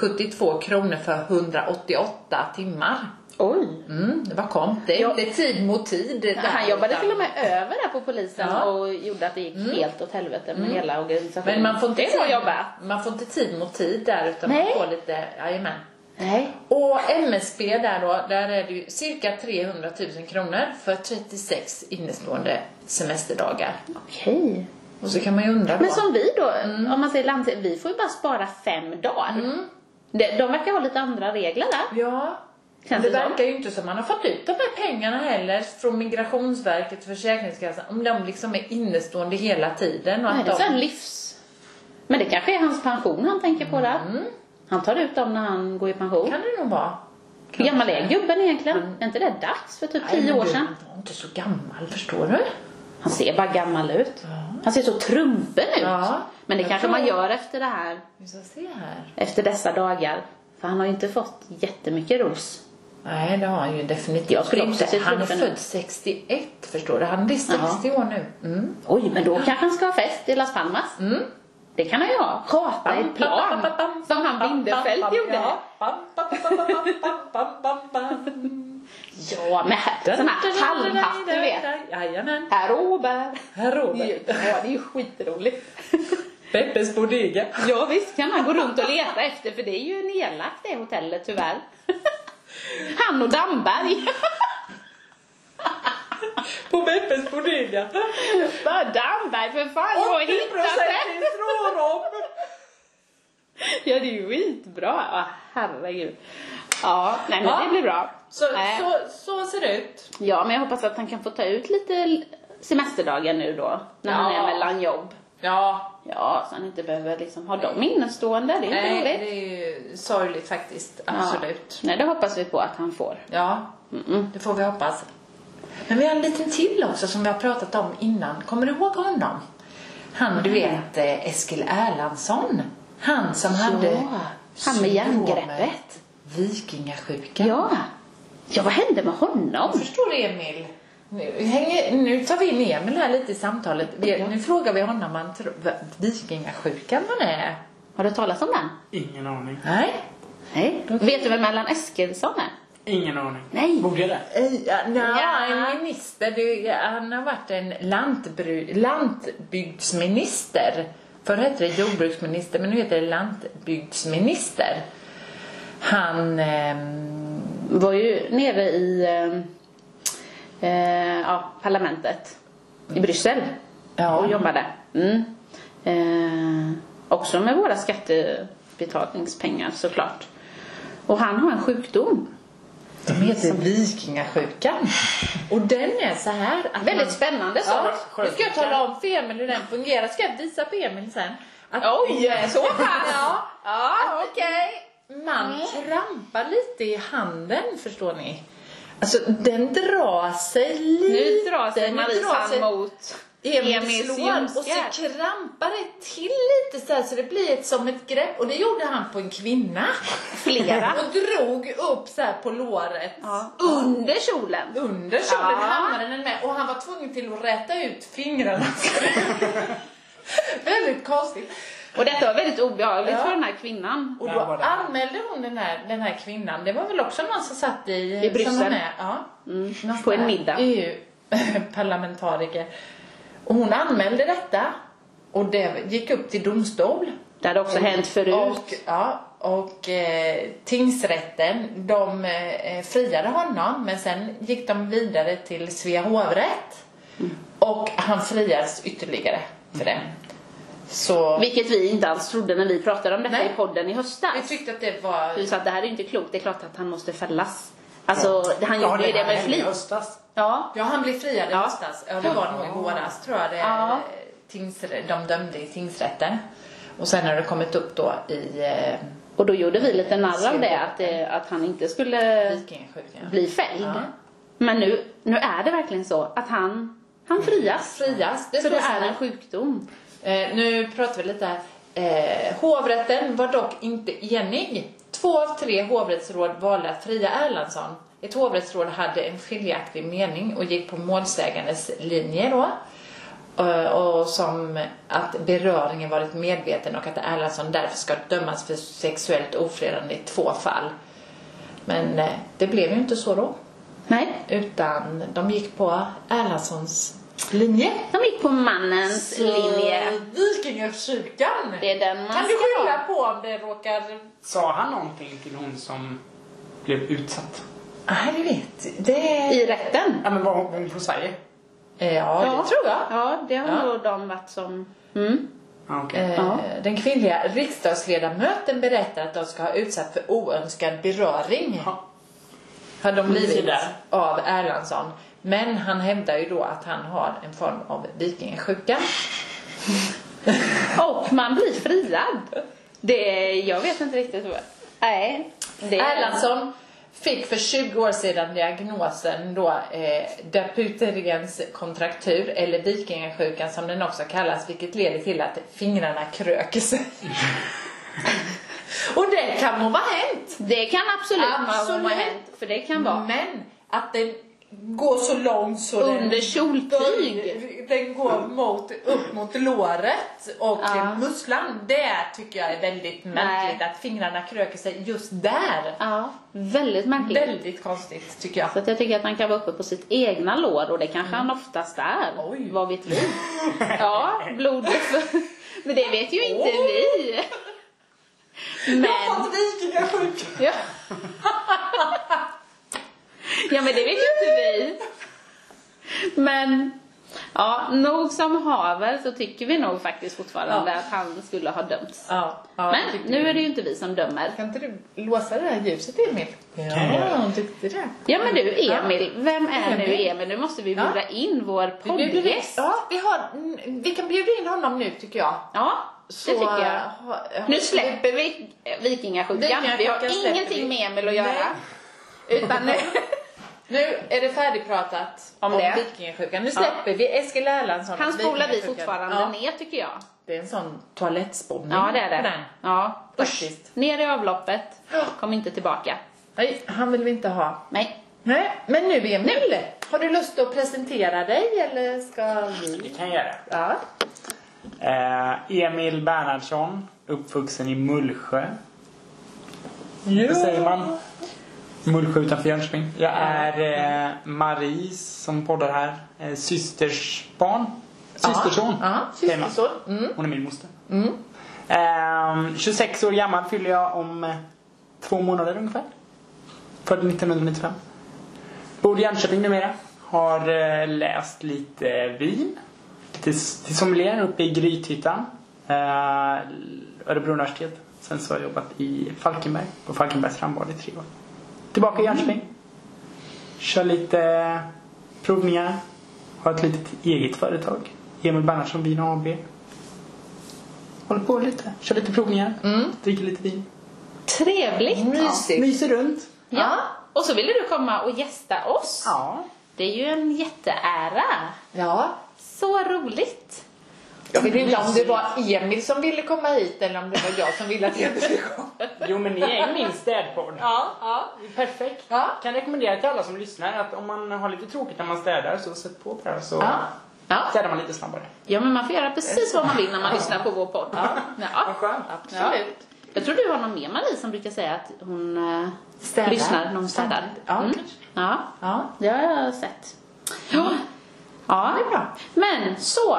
S1: 472 kronor för 188 timmar.
S2: Oj.
S1: Mm, det var komp. Det är
S2: Ja.
S1: inte tid mot tid. där,
S2: Han jobbade
S1: utan-
S2: till och med över där på polisen
S1: Ja.
S2: och gjorde att det gick helt åt helvete med hela organisationen.
S1: Men man får inte,
S2: det var jobba.
S1: man får inte tid mot tid där utan
S2: Nej.
S1: man får lite, jajamän.
S2: Nej.
S1: Och MSB där då, där är det ju cirka 300 000 kronor för 36 innestående semesterdagar.
S2: Okej.
S1: Och så kan man ju undra då.
S2: Men som vi då, om man säger landsting, vi får ju bara spara fem dagar. De, de verkar ha lite andra regler där.
S1: Ja.
S2: Känns
S1: det
S2: det som.
S1: verkar ju inte som man har fått ut de här pengarna heller från Migrationsverket och Försäkringskassan. Om de liksom är innestående hela tiden. Och
S2: Nej,
S1: att
S2: det är så
S1: de...
S2: en livs... Men det kanske är hans pension han tänker på där. Han tar ut dem när han går i pension.
S1: Mm. kan det nog vara.
S2: Hur gammal är gubben egentligen? Är inte det dags för typ
S1: Nej,
S2: tio
S1: men
S2: år
S1: du,
S2: sedan?
S1: Han var inte så gammal, förstår du?
S2: Han ser bara gammal ut. Han ser så trumpen ut.
S1: Ja.
S2: Men det
S1: Jag
S2: kanske
S1: tror-
S2: man gör efter det här,
S1: Vi ska se här.
S2: efter dessa dagar. För han har ju inte fått jättemycket ros.
S1: Nej, det har han ju definitivt
S2: Jag skulle
S1: inte.
S2: också se
S1: Han är
S2: truppen nu.
S1: född 61, förstår du. Han blir 60 år nu. Mm.
S2: Oj, men då kanske han ska ha fest i Las Palmas. Det kan han ju ha. Charta ett plan. Som han Bindefeld gjorde. Ja, med sån här halmhatt, du vet.
S1: Jajamän.
S2: Herr Åberg.
S1: Herr Robert.
S2: Ja, det är ju skitroligt.
S1: Peppes Bodega.
S2: Ja, visst kan man gå runt och leta efter för det är ju nedlagt det hotellet tyvärr. Han och Damberg.
S1: På Peppes Bodega.
S2: Bara Damberg för fan, jag har
S1: 80%
S2: hittat det.
S1: ifrån dem.
S2: Ja, det är ju skitbra. Ja, herregud. Ja, nej men
S1: Ja.
S2: det blir bra.
S1: Så,
S2: Nej.
S1: så, så ser det ut.
S2: Ja, men jag hoppas att han kan få ta ut lite l- semesterdagar nu då. När han
S1: Ja.
S2: är mellan jobb.
S1: Ja,
S2: Ja, så han inte behöver liksom ha dem innestående. Det är
S1: nej,
S2: inte
S1: det
S2: roligt.
S1: är ju sorgligt faktiskt. Absolut.
S2: Ja. Nej, det hoppas vi på att han får.
S1: Ja,
S2: Mm-mm.
S1: det får vi hoppas. Men vi har en liten till också som vi har pratat om innan. Kommer du ihåg honom? Han du vet eh, Eskil Erlandsson. Han som hade
S2: han med
S1: syndromet.
S2: järngreppet.
S1: Vikingasjukan.
S2: Ja. Ja, vad hände med
S1: Jag
S2: honom?
S1: förstår Emil. Nu, hänger, nu tar vi in Emil här lite i samtalet. Vi, Nu frågar vi honom vad han tror- vad vikingasjukan han är.
S2: Har du talat om den?
S3: Ingen aning.
S1: Nej.
S2: Nej. Vet du vem Allan Eskilsson är?
S3: Ingen aning.
S2: Nej.
S3: Borde jag det?
S1: Eh, Ja,
S2: Ja.
S1: en minister. Det, är- han har varit en lantbru, lantbygdsminister. Förr hette det jordbruksminister, men nu heter det lantbygdsminister. Han... ehm,
S2: Var ju nere i eh, eh, ja, parlamentet i Bryssel
S1: Ja.
S2: och jobbade. Mm. Eh, också med våra skattebetalningspengar såklart. Och han har en sjukdom.
S1: de heter vikingasjukan. Och den är så här... Att man-
S2: Väldigt spännande sak.
S1: Ja, nu ska jag tala om för Emil hur den fungerar. Ska jag visa för Emil sen. Att
S2: Oj, så pass?
S1: ja.
S2: Ja, okej.
S1: Man trampar lite i handen, förstår ni. Alltså, den drar sig lite.
S2: Nu drar sig
S1: Nu
S2: Maries
S1: drar sig-
S2: hand mot
S1: Emil
S2: Emils
S1: slår och
S2: ljumskar.
S1: så krampar det till lite så här så det blir ett, som ett grepp. Och det gjorde han på en kvinna.
S2: flera.
S1: Och drog upp så här på låret.
S2: ja. Under kjolen.
S1: Under kjolen
S2: Ja.
S1: hamnade den med och han var tvungen till att räta ut fingrarna. Väldigt konstigt.
S2: Och detta var väldigt obehagligt
S1: Ja.
S2: för den här kvinnan.
S1: Och
S3: Där
S1: då
S3: var det.
S1: anmälde hon den här, den här kvinnan. Det var väl också någon som satt i...
S2: I Bryssel. Mm.
S1: som hon är, ja. Någon
S2: på
S1: sån
S2: en
S1: här
S2: middag.
S1: EU-parlamentariker. Och hon anmälde detta. Och det gick upp till domstol.
S2: Det hade också hänt förut.
S1: Och, ja, och eh, tingsrätten, de eh, friade honom men sen gick de vidare till Svea hovrätt.
S2: Mm.
S1: Och han friades ytterligare för det. Så
S2: Vilket vi inte alls trodde när vi pratade om detta
S1: Nej.
S2: i podden i
S1: vi
S2: höstas.
S1: tyckte att det var...
S2: Vi sa att det här är inte klokt, det är klart att han måste fällas. Alltså, han
S3: Ja,
S2: gjorde ju det
S3: hände
S2: med
S3: i
S2: flit.
S3: höstas.
S2: Ja.
S1: Ja, han blev friad i höstas. Ja, det var nog i våras tror jag det,
S2: Ja.
S1: tingsrä- de dömde i tingsrätten. Och sen har det kommit upp då i eh,
S2: Och då gjorde vi lite narr av det, att, det- att han inte skulle
S1: vikingasjukan.
S2: bli fälld.
S1: Ja.
S2: Men nu, nu är det verkligen så att han, han frias.
S1: Frias. Det
S2: För det
S1: står så
S2: är
S1: här.
S2: en sjukdom.
S1: Eh, nu pratar vi lite här. Eh, hovrätten var dock inte enig. Två av tre hovrättsråd valde att fria Erlandsson. Ett hovrättsråd hade en skiljaktig mening och gick på målsägandes linje då. Eh, Och som att beröringen varit medveten och att Erlandsson därför ska dömas för sexuellt ofredande i två fall. Men eh, det blev ju inte så då.
S2: Nej.
S1: Utan de gick på Erlandssons linje.
S2: De gick på mannens linje.
S1: Vikingasjukan.
S2: Det är den man
S1: Kan du
S2: ska
S1: skylla
S2: ha.
S1: på om det råkar...
S3: Sa han någonting till hon som blev utsatt?
S1: Nej, det vet det...
S2: I rätten.
S3: Ja men vad hon från Sverige?
S1: Ja, ja, det tror jag.
S2: Ja, det har
S1: Ja.
S2: nog de varit som... Mm.
S3: Ja, okej.
S1: Eh,
S2: Ja.
S1: Den kvinnliga riksdagsledamoten berättar att de ska ha utsatt för oönskad beröring.
S3: Ja.
S1: Har de
S3: Se
S1: blivit
S3: där.
S1: av Erlandsson. Men han hävdar ju då att han har en form av vikingasjuka.
S2: Och man blir friad. Det, jag vet inte riktigt vad... Nej. Det,
S1: Erlandsson fick för 20 år sedan diagnosen då eh, Daputerens kontraktur eller vikingasjukan som den också kallas vilket leder till att fingrarna kröker sig. Och det kan må vara hänt.
S2: det kan absolut,
S1: Absolut.
S2: vara hänt. För det kan vara
S1: Men att den går så långt så
S2: under kjoltyg.
S1: den, den går mot, upp mot låret och
S2: Ja.
S1: musslan. Det tycker jag är väldigt märkligt att fingrarna kröker sig just där.
S2: Ja, väldigt märkligt.
S1: Väldigt konstigt tycker jag.
S2: Så att jag tycker att han kan vara uppe på sitt egna lår och det kanske han oftast är.
S1: Oj.
S2: Vad vet vi? Ja, blod. Men det vet ju inte
S1: Oj.
S2: vi. Men...
S1: vikingasjuka!
S2: Ja. ja, men det vet ju inte vi. Men, ja, nog som haver så tycker vi nog faktiskt fortfarande
S1: Ja.
S2: att han skulle ha dömts.
S1: Ja, ja,
S2: men
S1: tyckte
S2: nu
S1: du.
S2: är det ju inte vi som dömer.
S1: Kan inte du låsa det här ljuset Emil?
S3: Ja,
S1: hon tyckte det.
S2: Ja men du Emil, vem är nu
S1: Emil.
S2: Emil? Nu måste vi
S1: Ja.
S2: bjuda in vår
S1: Vi, bjuder in,
S2: poddgäst.
S1: ja, vi, har, mm, vi kan bjuda in honom nu tycker jag. eh,
S2: Ja, det tycker jag.
S1: ha- ha-
S2: Nu släpper vi vikingasjukan. Vi
S1: Vikingasjukan
S2: har
S1: släpper
S2: ingenting
S1: vi.
S2: med Emil att göra. Utan nu...
S1: Nu är det färdigpratat
S2: Om
S1: om,
S2: det.
S1: vikingasjukan. Nu släpper vi Eskil Erlandsson.
S2: Han
S1: och
S2: spolar vi
S1: vikingasjukan.
S2: fortfarande
S1: Ja.
S2: ner tycker jag.
S1: Det är en sån toalettspolning
S2: Ja, det är det.
S1: på den.
S2: Ja,
S1: Faktiskt.
S2: Usch. Ner i avloppet. Kom inte tillbaka.
S1: Nej, han vill vi inte ha.
S2: Nej.
S1: Nej, men nu Emil, har du lust att presentera dig eller ska
S3: Det
S1: vi?
S3: kan jag göra.
S1: Ja.
S3: Eh, Emil Bernhardsson, uppvuxen i Mullsjö. Hur säger man? Mullsjö utanför Jönköping. Jag är eh, Maries, som poddar här, eh, systers barn. Systerson.
S1: Ja,
S3: säger man.
S1: systerson. Mm.
S3: Hon är min moster. Ehm, 26 år gammal fyller jag om eh, två månader ungefär. Född 1995. Bor i Jönköping numera. Har eh, läst lite vin. Till, till sommelier uppe i Grythyttan. Eh, Örebro universitet. Sen så har jag jobbat i Falkenberg. På Falkenbergs strandbad i tre år. Tillbaka i Jönköping. Kör lite eh, provningar. Har ett litet eget företag. Emil Bernhardsson Vin AB. Håller på lite. Kör lite provningar. Dricker lite vin.
S2: Trevligt.
S1: Mysigt.
S3: Myser runt.
S2: Ja. Mm, Och så ville du komma och gästa oss.
S3: Ja.
S2: Det är ju en jätteära.
S1: Ja.
S2: Så roligt.
S1: Jag vet inte om det var Emil som ville komma hit eller om det var jag som ville att Emil skulle komma.
S3: Jo men ni är ju min städpodd.
S1: Ja, ja.
S3: Perfekt.
S1: Ja.
S3: Kan rekommendera till alla som lyssnar att om man har lite tråkigt när man städar så sätt på det här så
S1: Ja.
S2: Ja.
S3: städar man lite snabbare.
S2: ja, men man får göra precis vad man vill när man lyssnar på vår podd. Ja.
S3: Vad skönt.
S2: Absolut. Jag tror du har någon mer Marie som brukar säga att hon eh,
S1: Städar.
S2: lyssnar när hon städar.
S1: Ja,
S2: Mm.
S1: kanske.
S2: ja,
S1: ja.
S2: det har jag sett. Ja. ja,
S1: Det är bra.
S2: Men så.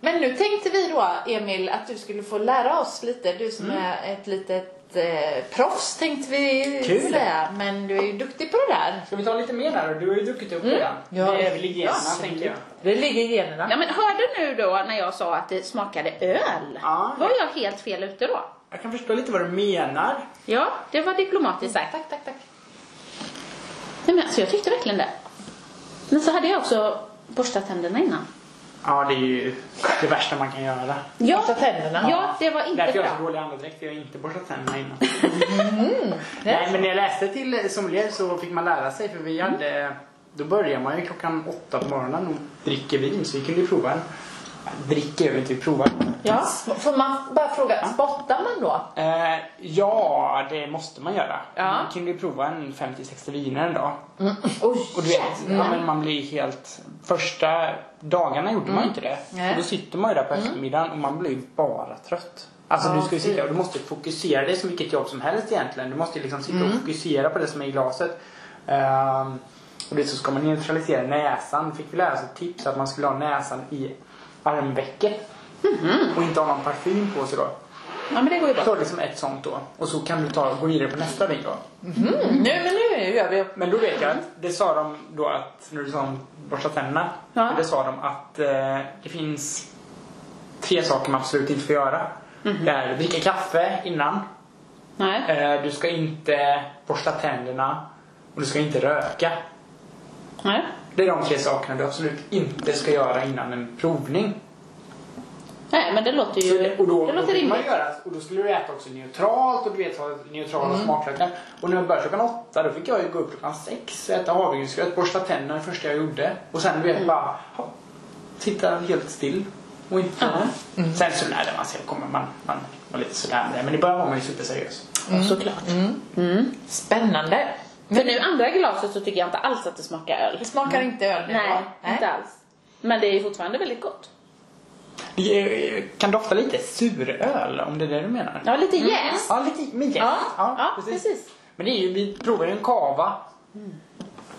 S1: Men nu tänkte vi då Emil att du skulle få lära oss lite. Du som är ett litet eh, proffs tänkte vi
S3: Kul.
S1: säga. Men du är ju duktig på det där.
S3: Ska vi ta lite mer där då? Du har ju druckit upp redan.
S1: Ja.
S3: Det är väl i generna,
S1: Ja,
S3: tänker jag.
S1: Det ligger i generna.
S2: Ja, men hörde nu då när jag sa att det smakade öl?
S3: Ja.
S2: Var jag helt fel ute då?
S3: Jag kan förstå lite vad du menar.
S2: Ja, det var diplomatiskt sagt.
S1: Tack, tack, tack.
S2: Nej, men alltså, jag tyckte verkligen det. Men så hade jag också borstat tänderna innan.
S3: Ja, det är ju det värsta man kan göra.
S2: Ja,
S1: Borsta tänderna.
S2: Ja, det var inte
S3: Därför jag har så
S2: bra.
S3: dålig andedräkt, för jag har inte borstat tänderna innan. Nej, men när jag läste till sommelier så fick man lära sig, för vi hade... Då börjar man ju klockan åtta på morgonen och dricker vin, så vi kunde ju prova den. Dricker över till vi provar.
S1: Ja. Får man bara fråga, spottar man då?
S3: Eh, ja, det måste man göra.
S1: Ja.
S3: Man kunde ju prova en 50-60 viner en dag.
S1: Oj,
S3: Och du vet,
S1: Mm.
S3: ja, men man blir helt... Första dagarna gjorde man ju inte det.
S1: Nej.
S3: Och då sitter man ju där på eftermiddagen och man blir ju bara trött. Alltså
S1: Ja,
S3: du ska ju sitta
S1: fy.
S3: och du måste fokusera dig som vilket jobb som helst egentligen. Du måste ju liksom sitta och fokusera på det som är i glaset. Ehm, och det så ska man neutralisera näsan. Fick vi lära oss ett tips att man skulle ha näsan i armvecket. Och inte ha någon parfym på sig då.
S2: Ja, men det går ju bra.
S3: Ta liksom ett sånt då. Och så kan du ta, gå vidare på nästa vin då.
S1: Mm, nu, men nu gör vi
S3: Men då vet jag att det sa de då att, när du sa om borsta tänderna,
S2: Ja.
S3: det sa de att eh, det finns tre saker man absolut inte får göra.
S1: Mm-hmm.
S3: Det är dricka kaffe innan,
S2: Nej.
S3: eh, du ska inte borsta tänderna och du ska inte röka.
S2: Nej.
S3: Det är de tre sakerna du absolut inte ska göra innan en provning.
S2: Nej, men det låter
S3: Så
S2: ju...
S3: det, och då,
S2: det
S3: då Mm.
S2: låter
S3: fick man
S2: rimligt.
S3: göra, och då skulle du äta också neutralt och du vet ha neutrala
S2: Mm.
S3: smaklökar. Och när jag började klockan åtta då fick jag ju gå upp klockan sex, äta havregrynsgröt, borsta tänderna det första jag gjorde. Och sen du vet
S2: Mm.
S3: bara ha, sitta helt still. Och inte... Mm. Sen så lärde man sig, kommer man, man var lite sådär med det. Men i början var man ju superseriös.
S2: Såklart.
S1: Spännande.
S2: För nu andra glaset så tycker jag inte alls att det smakar öl.
S1: Det smakar inte öl nu
S2: Nej,
S1: va?
S2: inte alls. Men det är ju fortfarande väldigt gott.
S3: Det eh, kan dofta lite suröl om det är det du menar.
S2: Ja, lite jäst.
S3: Ja, lite med jäst.
S1: Mm. Ja,
S2: ja, precis.
S3: Men det är ju, vi provar ju en kava.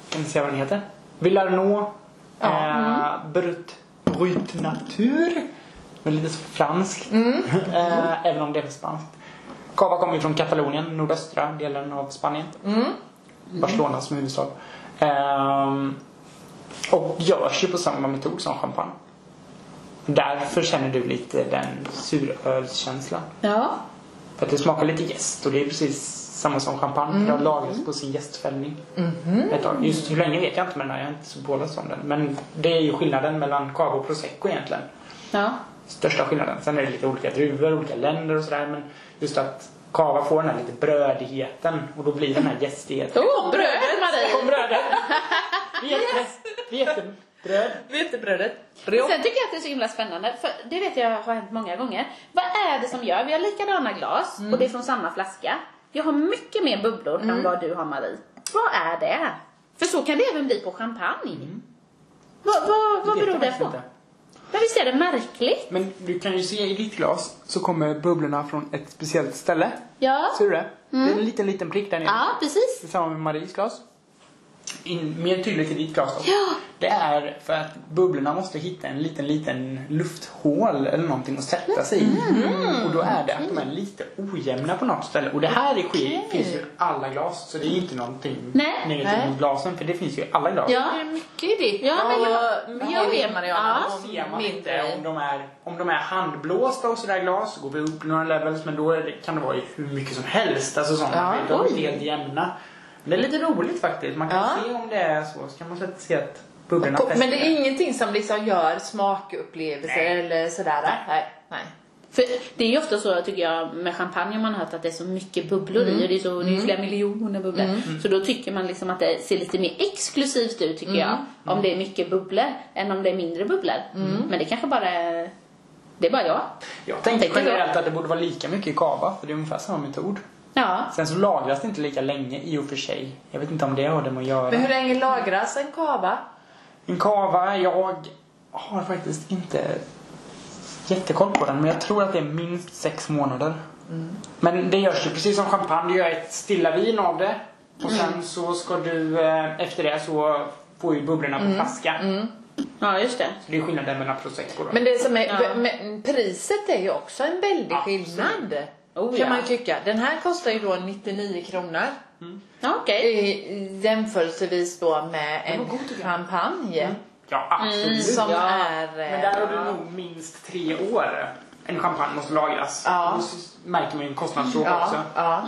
S3: Kan ni se vad den heter? Villarno. Eh, brut, brut natur. Men lite så franskt. Eh, även om det är spanskt. Cava kommer ju från Katalonien, nordöstra delen av Spanien. Barcelona som huvudstad. Ehm, och görs ju på samma metod som champagne. Därför känner du lite den surölskänslan.
S2: Ja.
S3: För att det smakar lite jäst och det är precis samma som champagne.
S2: Mm.
S3: för Det har lagrats på sin jästfällning.
S2: Mhm.
S3: Ett tag. Just hur länge vet jag inte men jag är inte så påläst om den. Men det är ju skillnaden mellan cava och prosecco egentligen.
S2: Ja.
S3: Största skillnaden. Sen är det lite olika druvor, olika länder och sådär. Men just att cava får den här lite brödigheten och då blir den här jästigheten.
S2: Åh, bröd Marie!
S3: Kom brödet! Vi är jätte... Vi är jätte... Bröd.
S1: Vetebrödet.
S2: Och sen tycker jag att det är så himla spännande, för det vet jag har hänt många gånger. Vad är det som gör, vi har likadana glas
S3: Mm.
S2: och det är från samma flaska. Jag har mycket mer bubblor än vad du har Marie. Vad är det? För så kan det även bli på champagne. Vad, vad, vad
S3: vet
S2: beror
S3: Mm. jag
S2: det
S3: faktiskt
S2: på?
S3: inte.
S2: Men visst är det märkligt?
S3: Men du kan ju se i ditt glas så kommer bubblorna från ett speciellt ställe.
S2: Ja. Mm. Ah.
S3: Ser du det? Det är en liten, liten prick där nere.
S2: Ja, precis.
S3: Det är samma med Maries glas. In, mer tydligt i ditt glas då.
S2: Ja.
S3: Det är för att bubblorna måste hitta en liten, liten lufthål eller någonting att sätta sig i.
S2: Mm.
S3: Och då är det att de är lite ojämna på något ställe. Och det här är ske- finns ju i alla glas. Så det är ju inte någonting
S2: Nej.
S3: negativt
S1: Nej.
S3: mot glasen. För det finns ju i alla glas.
S1: Det
S2: Ja.
S1: är mycket i ditt.
S2: Ja, men jag-
S1: och
S2: jag
S1: mer i
S2: vet.
S1: Mariana.
S2: Ja.
S1: och
S3: ser man
S1: mindre
S3: inte om de är, om de är handblåsta och sådär glas så går vi upp några levels men då är det, kan det vara i hur mycket som helst. Alltså sånt.
S1: Ja,
S3: de är
S1: oj.
S3: helt jämna. Men det är lite roligt faktiskt. Man kan
S1: Ja.
S3: se om det är så så kan man sätta- se att bubblorna
S1: Och- Men det
S3: fäster.
S1: är ingenting som liksom gör smakupplevelser
S3: Nej.
S1: eller sådär? Nej. Nej. Nej.
S2: För det är ju ofta så tycker jag med champagne man har hört att det är så mycket bubblor i och det är, så, det är ju flera miljoner bubblor. Så då tycker man liksom att det ser lite mer exklusivt ut tycker jag. Om det är mycket bubblor än om det är mindre bubblor. Men det kanske bara är, det är bara jag.
S3: Jag tänkte
S2: Tänker jag.
S3: generellt att det borde vara lika mycket i kava för det är ungefär samma metod.
S2: Ja.
S3: Sen så lagras det inte lika länge i och för sig. Jag vet inte om det har det med att göra.
S1: Men hur länge lagras en kava?
S3: En kava, jag har faktiskt inte jättekoll på den men jag tror att det är minst sex månader.
S1: Mm.
S3: Men det görs ju precis som champagne, du gör ett stilla vin av det och
S1: Mm.
S3: sen så ska du, eh, efter det så får ju bubblorna
S1: Mm.
S3: på flaska.
S2: ja, just det.
S3: Så det är skillnaden mellan prosecco då.
S1: Men det som är,
S2: Ja.
S1: men priset är ju också en väldig
S3: Absolut.
S1: skillnad.
S2: Oh,
S1: kan
S2: ja.
S1: man tycka. Den här kostar ju då 99 kronor.
S2: Ja, okej.
S1: I i jämförelsevis då med en champagne.
S3: Mm. ja absolut.
S1: Mm, Som
S2: Ja.
S1: är... eh,
S3: Men där har du nog minst tre år en champagne måste lagras.
S1: Ja.
S3: Och så märker man ju en kostnadsfråga
S1: ja,
S3: också.
S1: ja.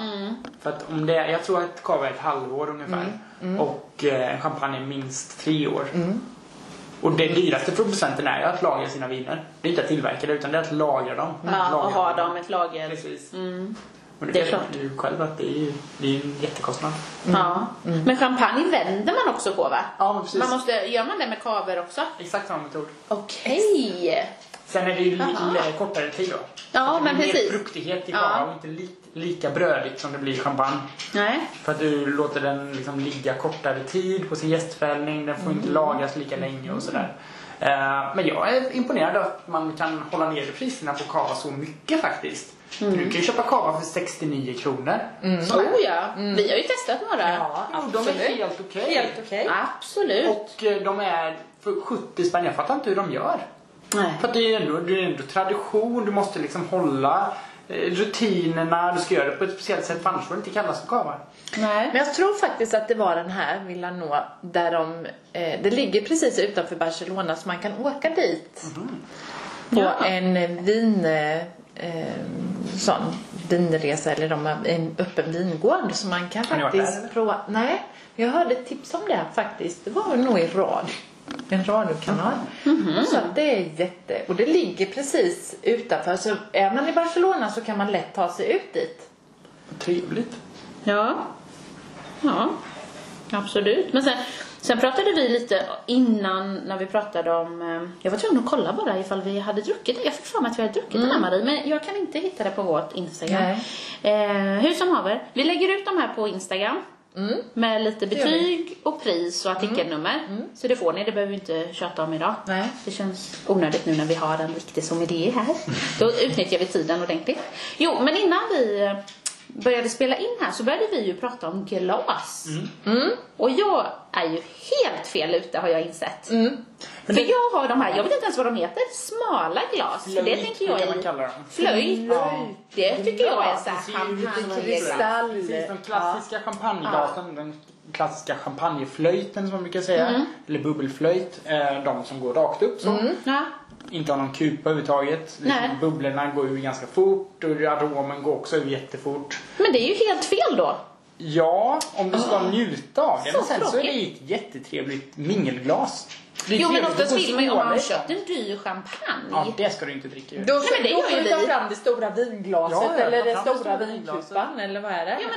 S3: För att om det, jag tror att kava är ett halvår ungefär.
S2: Mm,
S3: Och eh, champagne är minst tre år.
S2: Mm.
S3: Och det dyraste för producenten är ju att lagra sina viner. Det är inte att tillverka det utan det är att lagra dem.
S2: Ja,
S3: Lagra
S2: och ha dem ett lager.
S3: Precis. Och det,
S2: Det är
S3: vet
S2: klart.
S3: du själv att det är ju det är ju en jättekostnad.
S2: Ja. Men champagne vänder man också på va?
S3: Ja, men precis.
S2: Man måste, gör man det med kaver också?
S3: Exakt samma metod.
S2: Okej.
S3: Sen är det ju
S2: Aha.
S3: lite kortare tid då.
S2: Ja,
S3: Så det
S2: men
S3: blir mer
S2: precis.
S3: fruktighet i
S2: Ja.
S3: kava och inte li, lika brödigt som det blir i champagne.
S2: Nej.
S3: För att du låter den liksom ligga kortare tid på sin gästfällning, den får
S1: Mm.
S3: inte lagras lika länge och sådär. Eh, Men jag är imponerad av att man kan hålla nere priserna på kava så mycket faktiskt.
S1: Mm.
S3: För du kan ju köpa kava för 69 kronor. Som är-
S2: Oh ja. Vi har ju testat några.
S1: Ja,
S3: Jo, de är
S1: Mm. absolut.
S3: helt okej.
S1: Helt okej.
S2: Absolut.
S3: Och eh, de är för 70 spänn. Jag fattar inte hur de gör.
S2: Nej.
S3: För att det är ju ändå, det är ändå tradition, du måste liksom hålla eh, rutinerna, du ska göra det på ett speciellt sätt för annars får det inte kallas för kava.
S2: Nej.
S1: Men jag tror faktiskt att det var den här Milano där de, eh, det ligger precis utanför Barcelona så man kan åka dit. På
S2: Ja.
S1: en vin, eh, eh, sån vinresa eller de har en öppen vingård så man kan
S3: Har ni varit där, eller?
S1: faktiskt prova. Nej, jag hörde ett tips om det faktiskt. Det var nog i radio. En radiokanal.
S2: Mhm.
S1: Så att det är jätte... Och det ligger precis utanför. Så är man i Barcelona så kan man lätt ta sig ut dit.
S3: Trevligt.
S2: Ja. Ja. Absolut. Men sen, sen pratade vi lite innan när vi pratade om... eh, Jag var tvungen att kolla bara ifall vi hade druckit det. Jag fick för mig att vi hade druckit
S1: Mm.
S2: den här Marie. Men jag kan inte hitta det på vårt Instagram.
S1: Nej. Mm.
S2: Eh, hur som haver. Vi lägger ut de här på Instagram. Med lite
S1: gör vi. Mm.
S2: betyg och pris och artikelnummer. Så det får ni. Det behöver vi inte tjata om idag.
S1: Nej.
S2: Det känns onödigt nu när vi har en riktig sommelier här. Då utnyttjar vi tiden ordentligt. Jo, men innan vi eh, började spela in här så började vi ju prata om glas. Mm. Och jag är ju helt fel ute har jag insett. För jag har de här, jag vet inte ens vad de heter, smala glas. det
S3: Flöjt,
S2: tänker jag
S3: brukar man
S2: är
S3: kalla dem.
S2: flöjt. Det tycker jag är så här
S3: Det ser ju lite
S2: champagneglas.
S1: kristall-
S3: Precis, de klassiska champagneglasen, den klassiska champagneflöjten som man brukar säga,
S2: Mm.
S3: eller bubbelflöjt, eh, de som går rakt upp så.
S2: Ja.
S3: Inte har någon kupa överhuvudtaget.
S2: Mm. Nej.
S3: Liksom, bubblorna går ur ganska fort och aromen går också ur jättefort.
S2: Men det är ju helt fel då.
S3: Ja, om du ska njuta av det.
S2: Så
S3: Men sen så är det
S2: tråkigt.
S3: ju ett jättetrevligt mingelglas. Det är
S2: Jo men
S3: trevligt
S2: oftast
S3: att få
S2: vill man ju om man har
S3: skåla i
S2: köpt en dyr champagne.
S3: Ja, det ska du inte dricka ur.
S1: Då,
S2: Nej, men det
S1: då
S2: gör ju
S1: får du ta
S2: vi.
S1: fram det stora vinglaset
S3: Ja, ja,
S1: eller den
S3: ta fram det
S1: stora
S3: stora vinglaset.
S1: vinkupan eller vad är det?
S2: Ja,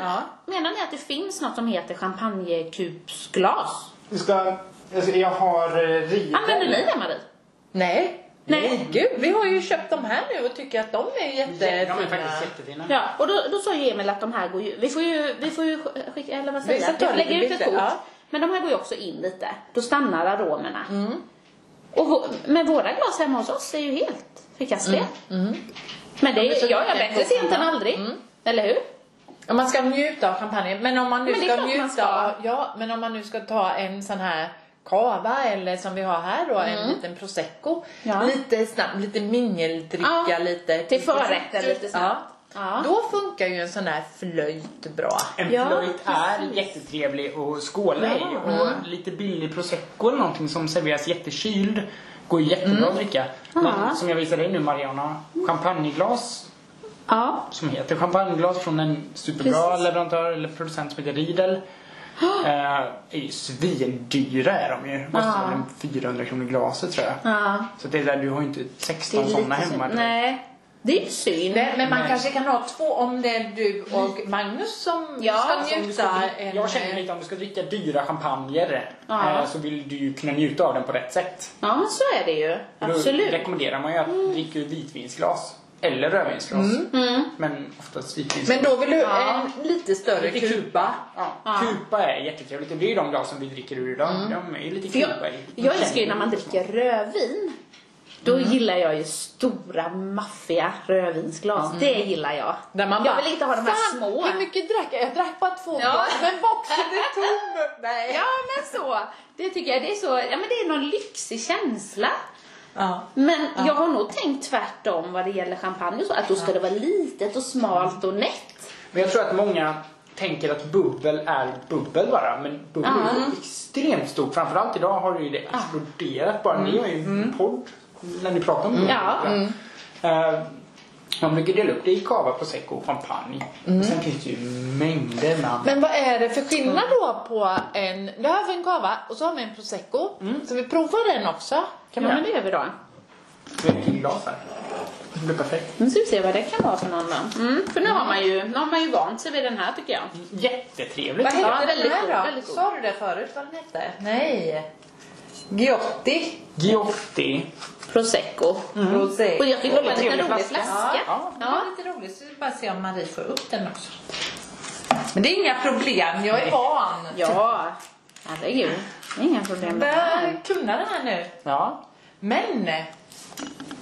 S2: men Menar ni att det finns något som heter champagnekupsglas?
S3: Du ska Jag ska- Jag har eh, river.
S2: Använder ni det Marie?
S1: Nej.
S2: Nej.
S1: Nej, gud. Vi har ju köpt de här nu och tycker att de är jättefina.
S3: De är faktiskt jättefina.
S2: Ja, och då, då sa ju Emil att de här går ju, vi får ju, vi får ju sk- skicka, eller vad säger
S1: Vi
S2: jag?
S1: ska ta
S2: Vi
S1: lite
S2: lägger ut ett
S1: bilder,
S2: kort.
S1: ja.
S2: Men de här går ju också in lite. Då stannar aromerna. Och vå, men våra glas hemma hos oss är ju helt förkastliga. Men det
S1: De är så
S2: är, jag är
S1: mycket
S2: bättre sent än aldrig. Eller hur?
S1: Ja, man ska njuta av champagnen. Men om man nu
S2: Men det är
S1: ska
S2: klart man
S1: njuta
S2: ska.
S1: Av, ja, men om man nu ska ta en sån här cava eller som vi har här då, en liten prosecco.
S2: Mm. Ja.
S1: Lite snabbt, lite mingeldricka,
S2: Ja,
S1: lite.
S2: till förrätten lite snabbt.
S1: Ja.
S2: Ja. Mm.
S1: Då funkar ju en sån här flöjt bra.
S3: En
S2: Ja,
S3: flöjt är
S2: precis.
S3: jättetrevlig att skåla i.
S2: Ja.
S3: Och lite billig prosecco eller någonting som serveras jättekyld. Går jättebra att dricka. Men som jag visade dig nu Mariana, champagneglas
S2: Ja.
S3: som heter champagneglas från en superbra
S2: Precis.
S3: leverantör eller producent som heter Riedel. Eh, är ju svindyra är de ju. Kostar väl en 400 kronor glaset tror jag.
S2: Ja.
S3: Så det är där, du har ju inte
S2: Det är
S3: 16
S2: lite
S3: sådana hemma.
S2: synd.
S3: direkt.
S2: Nej. Det är ju synd.
S1: Nej, men man
S3: Nej.
S1: kanske kan ha två om det är du och Magnus som
S2: Mm. Ja,
S1: ska
S3: Om du ska
S1: njuta.
S3: dricka- Jag känner lite om du ska dricka dyra champagner
S2: Ja.
S3: eh, så vill du ju kunna njuta av den på rätt sätt.
S2: Ja, men så är det ju.
S3: Då
S2: Absolut. Mm.
S3: rekommenderar man ju att dricka ur vitvinsglas eller rödvinsglas. Men oftast vitvinsglas.
S1: Men då vill du
S2: Ja.
S1: en lite större
S3: Lite
S1: kupa.
S3: ja,
S2: Ja. Mm.
S3: Kupa är jättetrevligt och det är ju de glasen vi dricker ur idag. De är ju lite
S2: För jag,
S3: kupa i.
S2: jag älskar ju när man dricker rödvin. Då gillar jag ju stora maffiga rödvinsglas. Det gillar jag.
S1: Där man
S2: jag
S1: bara,
S2: vill inte ha de här
S1: "Fan,
S2: små.
S1: Hur mycket drack jag? Jag drack bara två
S2: Ja.
S1: glas, men boxen är tom. Nej.
S2: Ja men så. Det tycker jag det är så, ja men det är någon lyxig känsla.
S1: Ja.
S2: Men jag har nog tänkt tvärtom vad det gäller champagne och så. Att då ska det vara litet och smalt och nätt.
S3: Men jag tror att många tänker att bubbel är bubbel bara. Men bubbel är ju extremt stort. Framförallt idag har ju det exploderat bara. Ni har ju en podd när ni pratar om det.
S2: Mm. Ja. Mm.
S3: Eh, man brukar dela upp det i cava, prosecco och champagne.
S2: Mm.
S3: Och sen finns det ju mängder med annat.
S1: Men vad är det för skillnad då på en, det här var en cava och så har vi en prosecco. Så vi provar den också.
S2: Kan
S1: Mm. Kan
S2: man
S1: man
S2: ja. men det gör vi då.
S3: Det är ett glas här. Det blir perfekt.
S2: Nu ska vi se vad det kan vara för någon då. Mm, för nu har man ju, nu har man ju vant sig vid den här tycker jag.
S3: Jättetrevligt.
S1: Vad hette
S2: Ja,
S1: den
S2: väldigt
S1: här
S2: god,
S1: då?
S2: väldigt god.
S1: Sa du det förut vad den hette? Nej. Giotti.
S3: Giotti.
S2: Prosecco.
S1: Prosecco.
S2: Och jag tycker det var en
S3: Trevlig
S2: liten rolig
S3: flaska.
S2: flaska.
S3: Ja.
S1: Det är lite roligt, så vi bara se om Marie får upp den också. Men det är inga problem, jag är van.
S2: Ja, herregud. Det är inga problem med det här.
S1: Börjar kunna det här nu.
S3: Ja.
S1: Men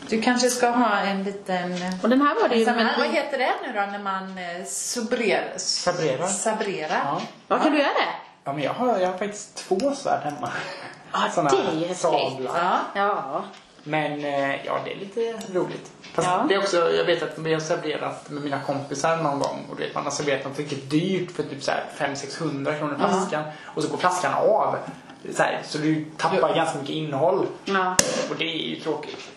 S1: du kanske ska ha en liten...
S2: Och den här var det ju...
S1: En sån här, Alltså, vad
S2: Men,
S1: heter det nu då när man eh, subrer,
S3: Sabrerar.
S1: sabrerar?
S3: ja.
S2: vad kan du göra det?
S3: Ja, men jag har, jag har faktiskt två svärd hemma.
S2: Ja,
S3: Såna
S2: det är ju häftigt.
S3: sablar.
S1: Ja.
S2: Ja.
S3: Men eh, ja, det är lite roligt. Fast
S2: Ja.
S3: det är också, jag vet att vi har serverat med mina kompisar någon gång och du vet, man har serverat något riktigt dyrt för typ så här 500-600 kronor flaskan och så går flaskan av. Så, här, så du tappar ganska mycket innehåll
S2: ja.
S3: och det är ju tråkigt.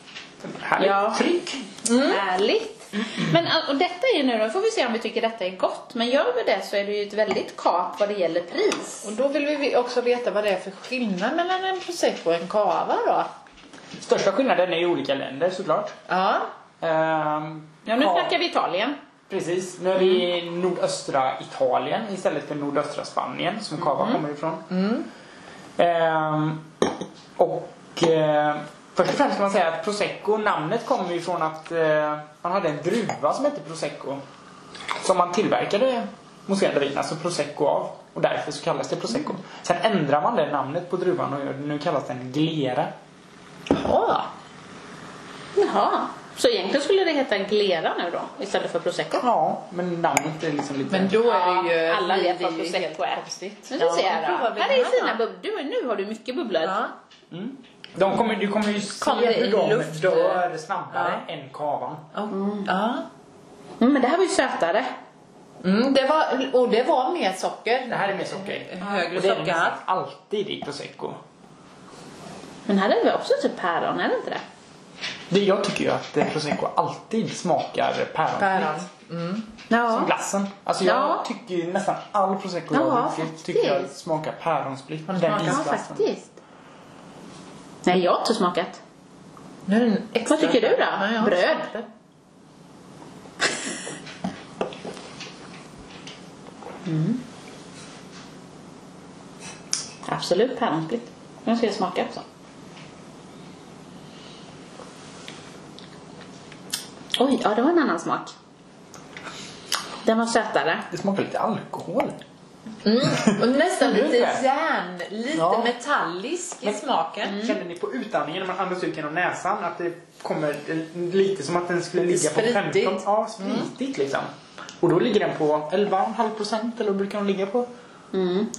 S3: Härligt
S2: Ja.
S3: tryck.
S1: Mm.
S2: Härligt. Men äh, och detta är ju nu då, får vi se om vi tycker detta är gott. Men gör vi det så är det ju ett väldigt kap vad det gäller pris.
S1: Och då vill vi också veta vad det är för skillnad mellan en prosecco och en cava då.
S3: Största skillnaden är i olika länder såklart.
S1: Ja.
S3: Ehm,
S2: Ja, nu snackar vi Italien.
S3: Precis, nu är vi i nordöstra Italien istället för nordöstra Spanien som Cava
S2: Mm.
S3: kommer ifrån. Ehm, och eh, först och främst kan man säga att prosecco, namnet kommer ju från att eh, man hade en druva som hette prosecco. Som man tillverkade mousserande vin, alltså prosecco av. Och därför så kallas det prosecco.
S2: Mm.
S3: Sen ändrar man det namnet på druvan och gör- nu kallas den glera.
S2: Ja. Jaha. Så egentligen skulle det heta glera nu då, istället för prosecco.
S3: Ja, men namnet är liksom lite...
S1: Men då är det ju...
S2: Ja, alla vet
S1: det är
S2: vad
S1: ju
S2: prosecco
S1: helt
S2: är.
S1: konstigt.
S2: Nu ska vi se här
S1: nu provar
S2: då.
S1: vi
S2: Här
S1: den
S2: är
S1: här
S2: fina
S1: då.
S2: bubblor. Du, nu har du mycket bubblor.
S1: Ja.
S3: Mm. De kommer, du kommer ju se
S1: Kom det i
S3: hur de
S1: luft?
S3: dör snabbare än kavan.
S1: Ja. Ja.
S2: Mm, men det här var ju sötare.
S1: Mm, det var, och det var mer socker.
S3: Det här är mer socker.
S1: Högre
S3: Och det är det
S1: sockerhalt.
S3: nästan alltid i prosecco.
S2: Men här är det också typ päron, är det inte det?
S3: Det, jag tycker ju att eh, prosecco alltid smakar päron.
S1: Päron.
S3: Som
S2: Ja.
S3: glassen. Alltså jag
S2: Ja.
S3: tycker ju nästan all prosecco
S2: Ja,
S3: jag dricker
S2: faktiskt.
S3: tycker jag smakar päronsplitt. Den
S2: Ja,
S3: isglassen.
S2: faktiskt. Nej, jag har inte smakat.
S1: Nu är den extra-
S2: Vad tycker du då?
S1: Ja, ja.
S2: Bröd? Absolut päronsplitt.
S1: Nu ska jag smaka också.
S2: Oj, ja det var en annan smak. Den var sötare.
S3: Det smakar lite alkohol.
S1: Mm. Och nästan lite
S3: Ungefär.
S1: järn, lite
S3: Ja.
S1: metallisk i
S3: Men-
S1: smaken.
S3: Kände ni på utandningen när man andas ut genom näsan att det kommer eh, lite som att den skulle ligga på 15?
S1: Spritigt.
S3: Ja, spritigt liksom. Och då ligger den på 11,5 procent eller vad brukar den ligga på? Mm.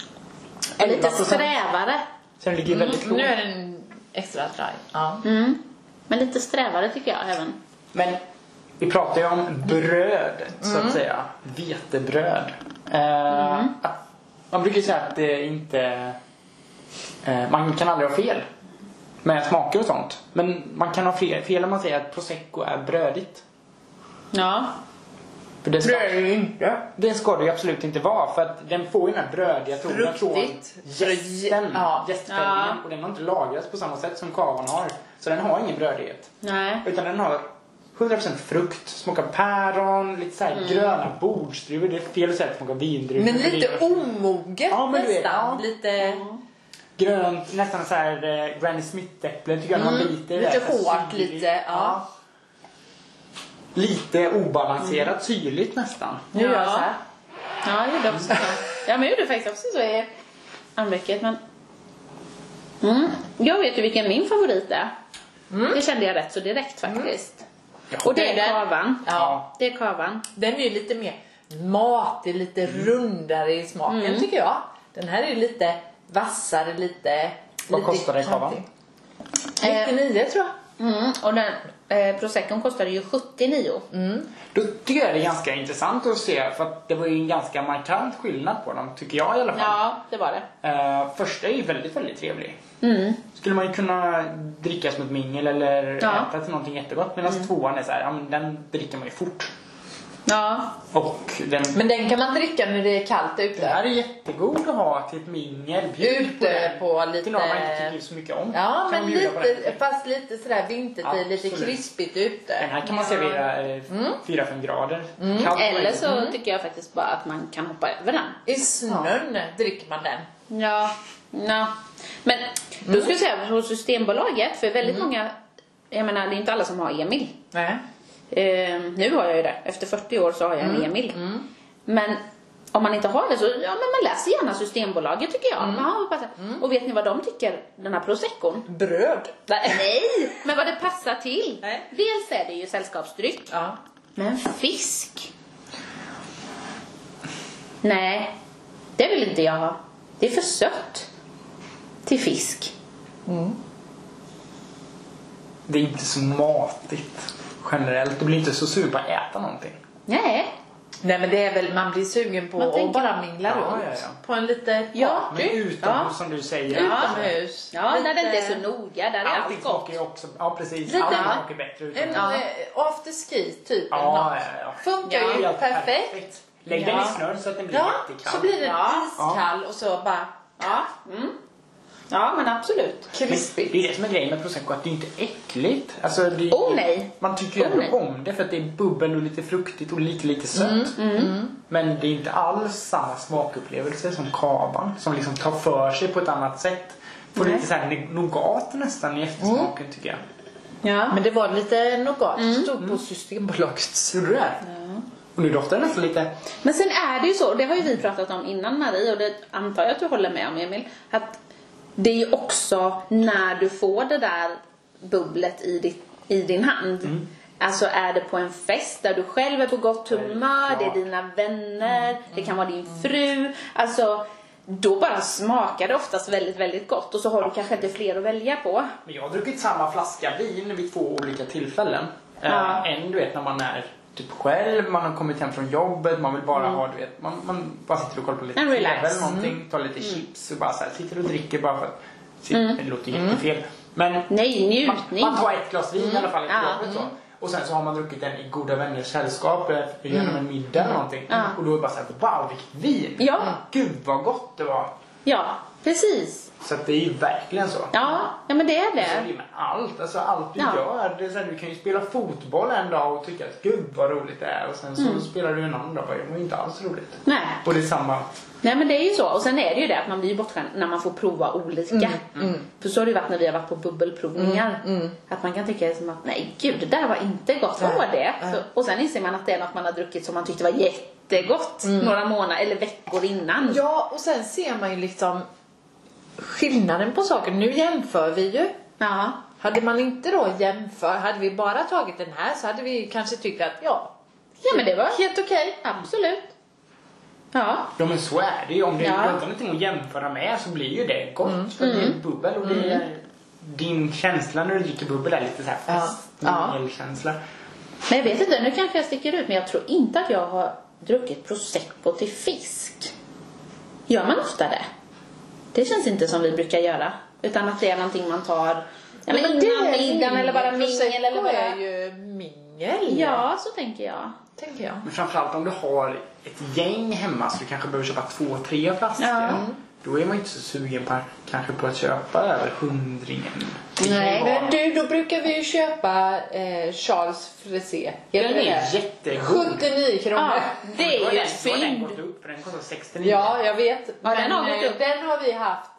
S2: Lite strävare.
S3: Så den ligger väldigt lågt.
S1: Mm. Nu är den extra dry. Ja.
S2: Mm. Men lite strävare tycker jag även.
S3: Men vi pratar ju om brödet så att säga. Vetebröd. Eh, att- Man brukar ju säga att det inte... eh, Man kan aldrig ha fel med smaker och sånt. Men man kan ha fel, fel om man säger att prosecco är brödigt.
S2: Ja.
S3: För det, ska,
S1: Det är ju inte.
S3: det ska det ju absolut inte vara för att den får ju den här brödiga tonen från
S1: Fruktigt.
S3: jästen.
S1: Ja.
S3: Jästfällningen. Och den har inte lagrats på samma sätt som kavan har. Så den har ingen brödighet.
S2: Nej.
S3: Utan den har 100% frukt, smakar päron, lite så här gröna bordsdruvor. Det är fel att säga att det smakar vindruvor.
S1: Mm. Men
S3: det
S1: lite
S3: är
S1: omoget
S3: Ja, men du vet,
S1: nästan.
S3: ja.
S1: Lite...
S3: Grönt, nästan så här eh, Granny Smith-äpplen tycker jag när man
S1: Mm,
S3: biter. i
S1: lite
S3: det här, så här
S1: hårt,
S3: syrligt.
S1: lite, ja.
S3: Lite obalanserat,
S1: Mm.
S3: syrligt nästan.
S1: Nu gör jag så här.
S2: Ja, jag gjorde också så. Ja, men jag gjorde faktiskt också så i armvecket. Men... Mm. Jag vet ju vilken min favorit är. Det kände jag rätt så direkt faktiskt. Mm. Och det är kavan.
S1: Ja.
S2: Det är kavan.
S1: Den är ju lite mer matig, lite rundare i smaken tycker jag. Den här är ju lite vassare, lite...
S3: Vad
S1: lite
S3: kostar den kavan?
S1: kantig. 99 tror jag.
S2: Mm. Och den eh, proseccon kostade ju 79.
S3: Då tycker jag det är ganska intressant att se för att det var ju en ganska markant skillnad på dem, tycker jag i alla fall.
S2: Ja, det var det.
S3: Eh, första är ju väldigt, väldigt trevlig.
S2: Mm.
S3: Skulle man ju kunna dricka som ett mingel eller
S2: Ja.
S3: äta till någonting jättegott. Medan
S1: Mm.
S3: tvåan är så här, ja, men den dricker man ju fort.
S2: Ja.
S3: Och den,
S1: Men den kan man dricka när det är kallt
S3: den
S1: ute.
S3: här är jättegod att ha till ett mingel. Bjud på,
S1: Ute
S3: den.
S1: på lite...
S3: Till någon man inte tycker så mycket om.
S1: Ja,
S3: Kan
S1: men
S3: man bjuda på den.
S1: lite, fast lite sådär vintertid, lite
S3: Absolut.
S1: krispigt ute.
S3: Den här kan man servera eh,
S1: Mm.
S3: 4-5 grader. Kallt och
S2: Eller
S3: äckligt.
S2: så tycker jag faktiskt bara att man kan hoppa över den.
S1: I snön dricker man den.
S2: Ja. ja. Men Mm. då ska jag säga på Systembolaget, för väldigt många, jag menar det är inte alla som har Emil.
S1: Nej.
S2: Eh, nu har jag ju det, efter 40 år så har jag en Emil. Men om man inte har det så, ja men man läser gärna Systembolaget tycker jag. Man har bara, Och vet ni vad de tycker, den här proseccon?
S1: Bröd. Nej.
S2: Nej! Men vad det passar till.
S1: Nej.
S2: Dels är det ju sällskapsdryck.
S1: Ja.
S2: Men fisk? Nej, det vill inte jag ha. Det är för sött till fisk.
S3: Det är inte så matigt generellt. Du blir inte så sugen på att äta någonting.
S2: Nej,
S1: Nej men det är väl, man blir sugen på
S2: Man
S1: att
S2: tänker-
S1: bara mingla
S3: Ja,
S1: runt.
S3: ja, ja.
S1: På en lite
S2: Ja.
S3: Men utomhus som du säger.
S1: utomhus.
S2: ja, när det inte är så
S1: noga.
S2: noga, där är
S3: Allting
S2: allt gott.
S3: smakar ju också... Ja precis.
S1: Lite-
S3: Allting smakar bättre utomhus.
S1: En eh, after ski typ. eller
S3: Ja,
S1: något.
S3: ja, ja.
S1: Funkar
S2: Ja,
S1: ju
S3: Helt
S1: perfekt.
S3: Lägg den
S1: Ja.
S3: i snön så att den blir
S1: Ja,
S3: jättekall.
S1: så blir den
S2: Ja.
S1: iskall och så bara
S2: Ja, mm. ja men absolut.
S3: Men
S1: krispig.
S3: Det är det som är grejen med prosecco, att det är inte äckligt. Alltså, det är,
S2: Oh, nej.
S3: Man tycker ju
S2: Oh, nej.
S3: ändå om det för att det är bubbel och lite fruktigt och lite, lite sött.
S1: Mm,
S3: Mm. Men det är inte alls samma smakupplevelse som kavan som liksom tar för sig på ett annat sätt. Får lite såhär nougat nästan i eftersmaken
S1: Mm.
S3: tycker jag.
S2: Ja.
S1: Men det var lite nougat. Mm. Stod på Systembolagets.
S3: Gjorde du det? Och nu doftar det nästan lite...
S2: Men sen är det ju så, och det har ju vi pratat om innan Marie och det antar jag att du håller med om Emil, att det är ju också när du får det där bubblet i, ditt, i din hand.
S3: Mm.
S2: Alltså är det på en fest där du själv är på gott humör, det är
S3: Självklart. Mm.
S2: dina vänner, det kan vara din fru. Alltså då bara smakar det oftast väldigt, väldigt gott och så har du kanske inte fler att välja på.
S3: Men jag har druckit samma flaska vin vid två olika tillfällen.
S2: Ja.
S3: Eh, en du vet när man är typ själv, man har kommit hem från jobbet, man vill bara ha du vet, man, man bara sitter och kollar på lite
S2: Mm. En relax. Mm.
S3: eller någonting, tar lite chips och bara så här, sitter och dricker bara för att sitt, det låter ju jättefel. Men
S2: Mm. Nej,
S3: man,
S2: njutning! Mm.
S3: man tar ett glas vin i alla fall, ett
S2: Ja.
S3: jobbet så. Och sen så har man druckit den i goda vänners sällskap eh, genom en middag eller någonting.
S2: Mm. Ja.
S3: Och då är det bara såhär, wow vilket vin!
S2: Ja.
S3: Gud vad gott det var!
S2: Ja, precis.
S3: Så att det är ju verkligen så.
S2: Ja, ja men det är
S3: Så är
S2: det.
S3: det med allt, alltså allt du
S2: Ja.
S3: gör. Det är så här, du kan ju spela fotboll en dag och tycka att gud vad roligt det är och sen så spelar du en annan dag och bara, det var ju inte alls roligt.
S2: Mm. Nej.
S3: Och det är samma
S2: Nej men det är ju så. Och sen är det ju det att man blir ju bortskämd när man får prova olika. Mm. För så har det ju varit när vi har varit på bubbelprovningar. Att man kan tycka som att nej gud det där var inte gott. Vad var det? Så, och sen inser man att det är något man har druckit som man tyckte var jättegott. Några månader eller veckor innan.
S1: Ja, och sen ser man ju liksom skillnaden på saker. Nu jämför vi ju.
S2: Ja.
S1: Hade man inte då jämfört, hade vi bara tagit den här så hade vi kanske tyckt att ja,
S2: Ja men det var helt okej. Absolut. Ja.
S3: Ja men så är det ju. Om du
S2: Ja. Mm.
S3: inte har någonting att jämföra med så blir ju det gott. För det är ju bubbel och det är, din känsla när du dricker bubbel är lite såhär
S1: Ja. Ja.
S3: festkänsla.
S2: Men jag vet inte, nu kanske jag sticker ut men jag tror inte att jag har druckit prosecco till fisk. Gör man ofta det? Det känns inte som vi brukar göra. Utan att det är någonting man tar ja, men innan middagen eller bara mingel eller
S1: är
S2: bara...
S1: ju mingel.
S2: Ja, så tänker jag.
S1: Tänker jag.
S3: Men framförallt om du har ett gäng hemma så du kanske behöver köpa två, tre flaskor.
S2: Ja.
S3: Då är man inte så sugen på, kanske på att köpa över hundringen.
S2: Nej,
S1: Men du, då brukar vi ju köpa eh, Charles Frisé.
S3: Den är jättegod.
S1: 79 kronor.
S2: Ja, det
S3: Då har
S2: är ju
S3: den-
S2: ett
S3: då har den
S2: fynd.
S3: gått upp, för den kostar 69.
S1: Ja, jag vet.
S2: Ja, den har
S1: Men,
S2: gått
S1: eh,
S2: upp.
S1: den har vi haft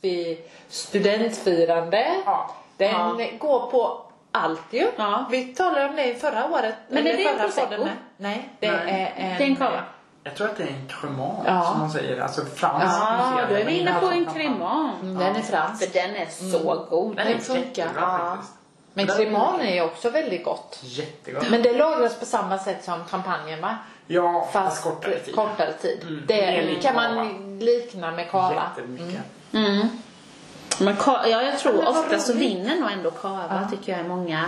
S1: vid studentfirande.
S3: Ja.
S1: Den
S2: Ja.
S1: går på allt ju.
S2: Ja.
S1: Vi talade om det i förra året.
S2: Men är
S1: eller
S2: det
S1: förra
S2: prosecco?
S1: podden med. Nej, det
S3: Nej.
S1: är en...
S2: Det är en cava.
S3: Jag tror att det är en cremant
S1: Ja.
S3: som man säger. Alltså fransk.
S2: Ja, då är Mm. vi inne på en
S1: Mm,
S2: cremant.
S1: Den är fransk.
S2: För den är så god.
S1: Den är funkar.
S3: Jättebra faktiskt.
S1: Men creman är ju också väldigt gott.
S3: Jättegott.
S1: Men det lagras på samma sätt som champagnen va?
S3: ja, fast, kortare tid.
S1: kortare tid.
S3: Mm.
S1: Det
S3: Det är lite
S1: kan
S3: kava.
S1: man likna med kava.
S3: Jättemycket.
S2: Mm. Men ka- ja, jag tror
S1: Men vad
S2: ofta så
S1: roligt.
S2: vinner nog ändå kava tycker jag är många.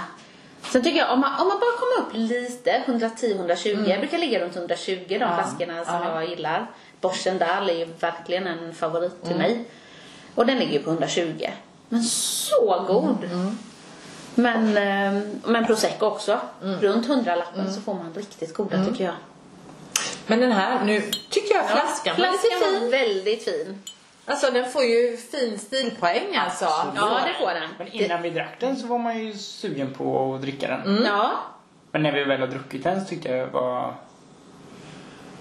S2: Sen tycker jag om man, om man bara kommer upp lite, 110-120, jag brukar ligga runt 120 de flaskorna som
S1: Mm. ja.
S2: jag gillar. Borsen Dahl är ju verkligen en favorit
S1: Mm.
S2: till mig. Och den ligger ju på 120. Men så god!
S1: Mm,
S2: Men, eh, men prosecco också.
S1: Mm.
S2: Runt 100-lappen så får man riktigt goda tycker jag.
S1: Men den här, nu tycker jag flaskan var
S2: Flaskan
S1: lite
S2: var väldigt fin.
S1: Alltså den får ju fin stilpoäng alltså.
S2: Ja, det får den.
S3: Men innan vi drack den så var man ju sugen på att dricka den.
S1: Mm.
S2: Ja.
S3: Men när vi väl har druckit den så tyckte jag var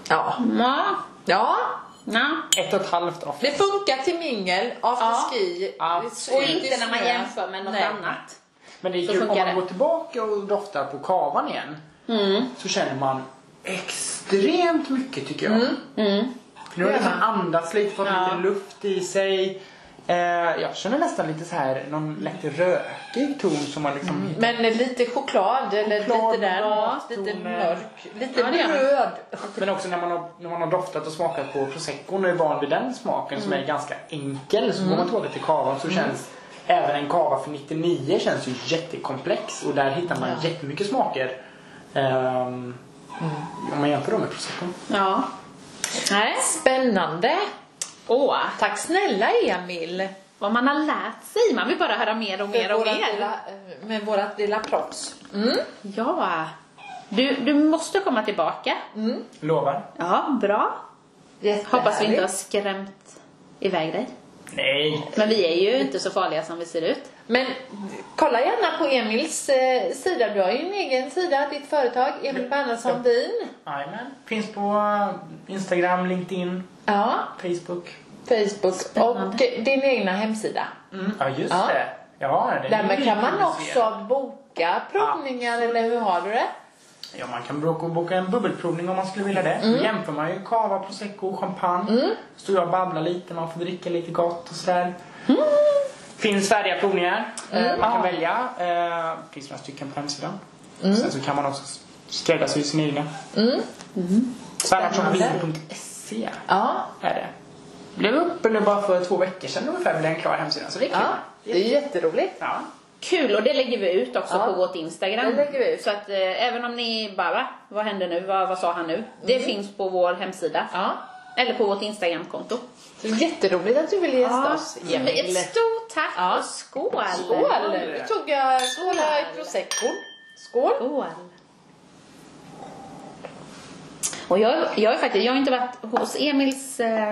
S1: Ja.
S2: Ja.
S1: ja.
S2: ja.
S3: ett och ett halvt off.
S1: Det funkar till mingel,
S2: Ja.
S1: afterski.
S3: Ja.
S2: Och inte när man jämför med något
S1: Nej.
S2: annat.
S3: Men det är
S2: Så
S3: kul, om
S2: funkar
S3: man
S2: det. Mm.
S3: går tillbaka och doftar på kavan igen så känner man extremt mycket tycker jag. Nu har
S1: Det
S3: det
S1: gör
S3: liksom andats lite, fått
S2: Mm. Ja.
S3: lite luft i sig. Eh, jag känner nästan lite så här någon lätt rökig ton som man liksom
S2: Mm.
S1: Men lite choklad eller
S3: Choklad,
S1: lite där,
S3: mat,
S1: lite
S3: och-
S1: mörk, lite
S2: Ja, det gör man.
S1: röd.
S3: Men också när man, har, när man har doftat och smakat på proseccon och är van vid den smaken som
S1: Mm.
S3: är ganska enkel så går man tillbaka till kavan så känns även en kava för 99 känns ju jättekomplex och där hittar man jättemycket smaker. Ehm,
S1: Mm.
S3: Om man jämför dem med proseccon.
S2: Ja. Nej.
S1: Spännande!
S2: Åh,
S1: Tack snälla Emil!
S2: vad man har lärt sig. Man vill bara höra mer och mer
S1: Med
S2: och
S1: vårat
S2: mer.
S1: lilla, eh, med vårat lilla proffs. Mm,
S2: Ja. Du, du måste komma tillbaka.
S1: mm.
S3: Lovar?
S2: Ja, bra. Hoppas vi inte har skrämt iväg dig.
S3: Nej.
S2: Men vi är
S1: Mm.
S2: ju inte så farliga som vi ser ut.
S1: Men kolla gärna på Emils eh, sida. Du har ju en egen sida, ditt företag Emil Bernhardsson Vin.
S3: Jajamän. Finns på eh, Instagram, LinkedIn,
S1: Ja,
S3: Facebook.
S1: Facebook
S2: Spännande.
S1: och din egna hemsida.
S3: Ja just
S1: Ja.
S3: det. Ja, det är
S1: Därmed
S3: ju
S1: kan man
S3: publicerat.
S1: också boka provningar eller hur har du det?
S3: Ja, man kan boka, boka en bubbelprovning om man skulle vilja det.
S1: Mm.
S3: Då jämför man ju cava, prosecco, champagne. Står jag och babblar lite, man får dricka lite gott och sådär.
S1: Mm.
S3: Finns färdiga provningar eh, man kan välja. Eh, finns några stycken på hemsidan.
S1: Mm.
S3: Sen så kan man också s- skräddarsy sina egna. Bernhardssonvin.se
S1: Ja,
S3: är det. Blev uppe nu bara för två veckor sedan ungefär blev den klar hemsidan så det är kul.
S1: ja det är jätteroligt.
S3: Ja.
S2: Kul, och det lägger vi ut också
S1: Ja.
S2: på vårt Instagram.
S1: Det lägger vi ut.
S2: Så att eh, även om ni bara, va? Vad hände nu? Vad, vad sa han nu? Det finns på vår hemsida.
S1: Mm. Ja.
S2: Eller på vårt Instagramkonto.
S1: Det är jätteroligt att du ville gästa oss
S2: Ett
S1: Emil.
S2: stort tack
S1: Ja.
S2: och skål!
S1: Skål! Nu tog jag skåla i proseccon. Skål!
S2: Skål! Och jag, jag, är faktiskt, jag har inte varit hos Emils eh,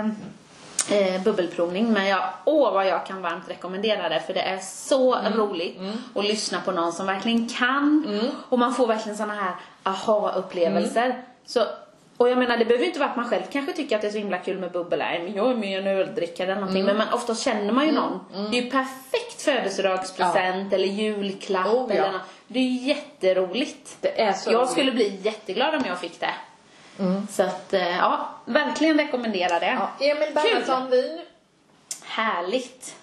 S2: eh, bubbelprovning men jag, åh vad jag kan varmt rekommendera det för det är så roligt att lyssna på någon som verkligen kan och man får verkligen såna här aha-upplevelser. Så Och jag menar det behöver ju inte vara att man själv kanske tycker att det är så himla kul med bubbel. Nej men jag är med i en öldrickare eller någonting. Men man, oftast känner man ju någon. Det är ju perfekt födelsedagspresent eller julklapp
S1: Oh, ja.
S2: eller något. Det är ju jätteroligt.
S1: Det är så
S2: jag
S1: roligt. Mm.
S2: skulle bli jätteglad om jag fick det. Så att eh, ja, verkligen rekommendera det.
S1: Ja. Emil
S2: Kul.
S1: Bernhardsson vin.
S2: Härligt.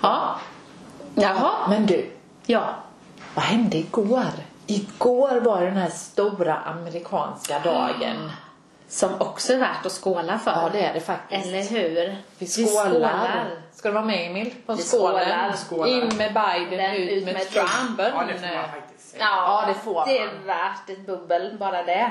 S2: Ja. Jaha.
S1: Men du,
S2: Ja.
S1: vad hände igår? Igår var den här stora amerikanska
S2: Mm.
S1: dagen.
S2: Som också är värt att skåla för.
S1: Ja, det är det faktiskt.
S2: Eller hur?
S1: Vi skålar. Ska du vara med Emil? På
S2: Vi
S1: skålen.
S3: skålar.
S1: In med Biden,
S2: Den,
S1: ut, med, Trump. eh,
S3: Ja, det får man faktiskt säga.
S2: Ja,
S1: Ja, det får
S2: Det
S1: man.
S2: är värt ett bubbel, bara det.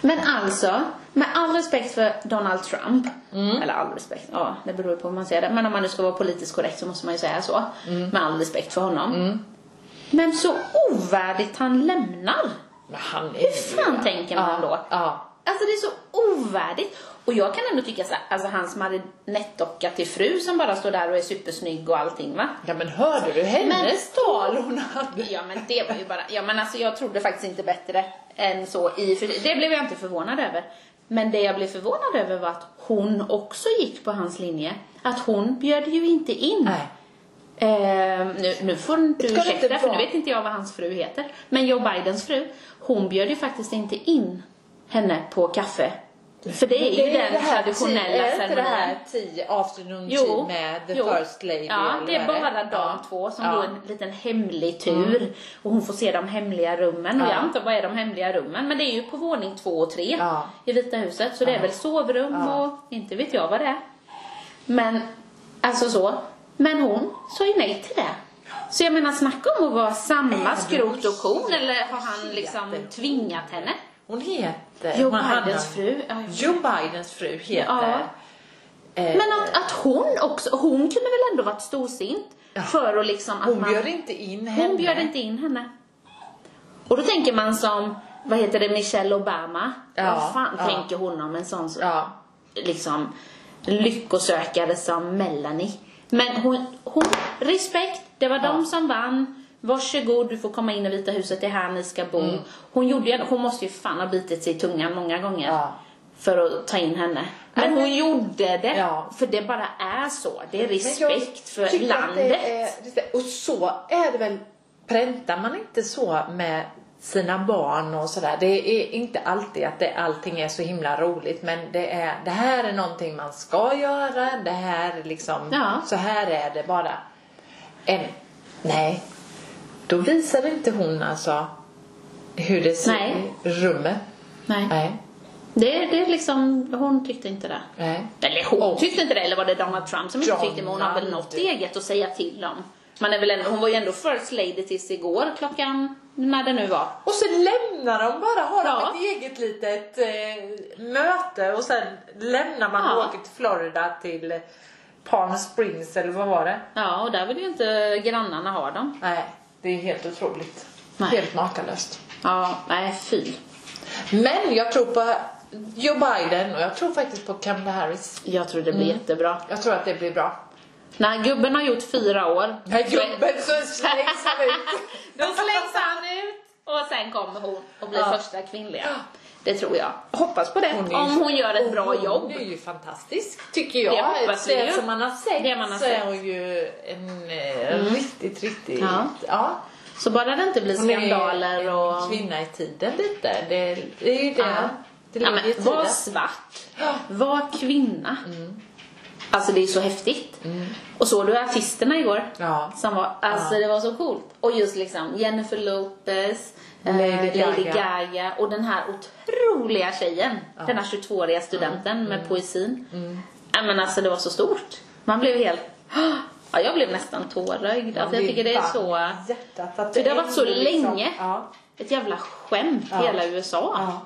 S2: Men alltså, med all respekt för Donald Trump.
S1: Mm.
S2: Eller all respekt, ja det beror på hur man ser det. Men om man nu ska vara politiskt korrekt så måste man ju säga så.
S1: Mm.
S2: Med all respekt för honom. Men så ovärdigt han lämnar.
S1: Men han är
S2: Hur fan tänker man
S1: ja.
S2: då?
S1: Ja.
S2: Alltså det är så ovärdigt. Och jag kan ändå tycka så här, alltså hans marionettdocka till fru som bara står där och är supersnygg och allting va.
S1: ja, men hörde du hennes tal hon hade?
S2: Ja men det var ju bara, ja men alltså jag trodde faktiskt inte bättre än så i och för sig. Det blev jag inte förvånad över. Men det jag blev förvånad över var att hon också gick på hans linje. Att hon bjöd ju inte in.
S1: Nej.
S2: Eh, nu, nu får du
S1: Ska det inte
S2: ursäkta för nu
S1: vara-
S2: vet inte jag vad hans fru heter. Men Joe Bidens fru, hon bjöd ju faktiskt inte in henne på kaffe. För det är ju
S1: är
S2: den
S1: det här
S2: traditionella
S1: tio- Är det inte det
S2: ceremonin.
S1: här tea, afternoon tea
S2: Jo,
S1: typ med the
S2: jo.
S1: first lady?
S2: Ja,
S1: eller
S2: det är
S1: vad
S2: bara dag
S1: Ja.
S2: två som
S1: Ja. Mm.
S2: går en liten hemlig tur. Och hon får se de hemliga rummen. Och
S1: Ja.
S2: jag antar, vad är de hemliga rummen? Men det är ju på våning två och tre
S1: Ja.
S2: i Vita huset. Så det är väl sovrum
S1: Ja.
S2: och inte vet jag vad det är. Men, alltså så. Men hon sa ju nej till det. Så jag menar, snacka om att vara samma skrot och korn. Eller har han liksom tvingat henne?
S1: Hon heter...
S2: Joe
S1: man hade-
S2: Bidens fru. Ja, jag vet.
S1: Joe Bidens fru heter... eh,
S2: Men att, att hon också, hon kunde väl ändå varit storsint? För att liksom att
S1: hon
S2: man...
S1: bjöd inte in henne.
S2: Hon bjöd inte in henne. Och då tänker man som, vad heter det, Michelle Obama.
S1: Ja,
S2: vad fan
S1: ja.
S2: tänker hon om en sån
S1: Ja.
S2: liksom, lyckosökare som Melanie? Men hon, hon respekt, det var de som vann. Varsågod, du får komma in i Vita huset, det är här ni ska bo.
S1: Mm.
S2: Hon, gjorde, ju- hon måste ju fan ha bitit sig i tungan många gånger
S1: Ja.
S2: för att ta in henne. Men hon gjorde det,
S1: Ja.
S2: för det bara är så. Det är
S1: Men jag
S2: respekt för
S1: tycker att det
S2: landet.
S1: är lite- och så är det väl. Präntar man inte så med sina barn och sådär. Det är inte alltid att det, allting är så himla roligt men det, är, det här är någonting man ska göra. Det här är liksom,
S2: Ja.
S1: så här är det bara. En, nej, då visade inte hon alltså hur det ser
S2: Nej.
S1: i rummet.
S2: Nej.
S1: Nej,
S2: Det, det är liksom, hon tyckte inte det.
S1: nej.
S2: Eller hon
S1: Och-
S2: tyckte inte det, eller var det Donald Trump som inte tyckte det? Men hon har väl
S1: Donald.
S2: något eget att säga till om. Man är väl ändå, hon var ju ändå first lady tills igår klockan, när det nu var.
S1: Och sen lämnar de bara, har
S2: Ja.
S1: de ett eget litet eh, möte och sen lämnar man
S2: Ja.
S1: och åker till Florida till eh, Palm Springs eller vad var det?
S2: Ja, och där vill ju inte grannarna ha dem.
S1: Nej, det är helt otroligt.
S2: Nej.
S1: Helt makalöst.
S2: Ja, nej fy.
S1: Men jag tror på Joe Biden och jag tror faktiskt på Kamala Harris.
S2: Jag tror det blir jättebra.
S1: Jag tror att det blir bra.
S2: När gubben har gjort fyra år.
S1: När gubben så slängs han ut.
S2: Då slängs han ut och sen kommer hon och blir
S1: Ja.
S2: första kvinnliga. Det tror jag.
S1: Hoppas på det.
S2: Hon är ju- Om hon gör ett bra jobb.
S1: Hon är ju fantastisk, tycker jag.
S2: Det hoppas vi
S1: det
S2: ju.
S1: som man har sett,
S2: Det man har
S1: så
S2: sett. Mm.
S1: är hon ju en eh, riktigt, riktigt...
S2: Ja.
S1: ja.
S2: Så bara det inte blir
S1: Hon är
S2: skandaler och...
S1: en kvinna i tiden lite. Det, det är ju det.
S2: Ja.
S1: Det
S2: Ja,
S1: ligger
S2: men,
S1: i tiden.
S2: var svart,
S1: Ja. Mm.
S2: var kvinna. Alltså det är så häftigt. Och såg du artisterna igår?
S1: Ja.
S2: Som var, alltså
S1: Ja.
S2: det var så coolt. Och just liksom Jennifer Lopez, eh,
S1: Lady
S2: Lady
S1: Gaga.
S2: Gaga och den här otroliga tjejen. Den här 22-åriga studenten
S1: Mm.
S2: med poesin. Ja, men alltså det var så stort. Man blev helt... Ja, jag blev nästan tårögd. Alltså, jag tycker det är så...
S1: Hjärtat, att
S2: För det har varit så
S1: är liksom-
S2: länge.
S1: Ja.
S2: Ett jävla skämt,
S1: Ja.
S2: hela USA.
S1: Ja.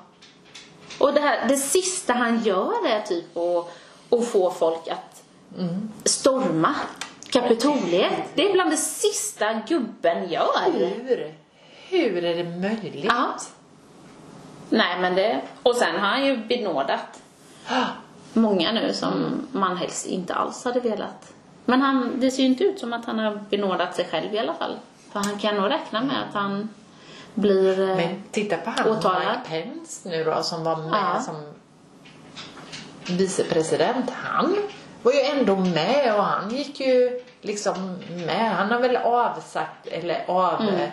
S2: Och det, här, det sista han gör är typ att, att få folk att storma Kapitoliet. Det är bland det sista gubben gör.
S1: Hur? Hur är det möjligt?
S2: Ja. Nej men det... Och sen har han ju benådat många nu
S1: Mm.
S2: som man helst inte alls hade velat. Men han, det ser ju inte ut som att han har benådat sig själv i alla fall. För han kan nog räkna med att han blir... eh,
S1: Men titta på han
S2: Åtalad.
S1: Mike Pence nu då som var med
S2: Ja.
S1: som vicepresident. Han var ju ändå med och han gick ju liksom med. Han har väl avsagt eller av
S2: Mm.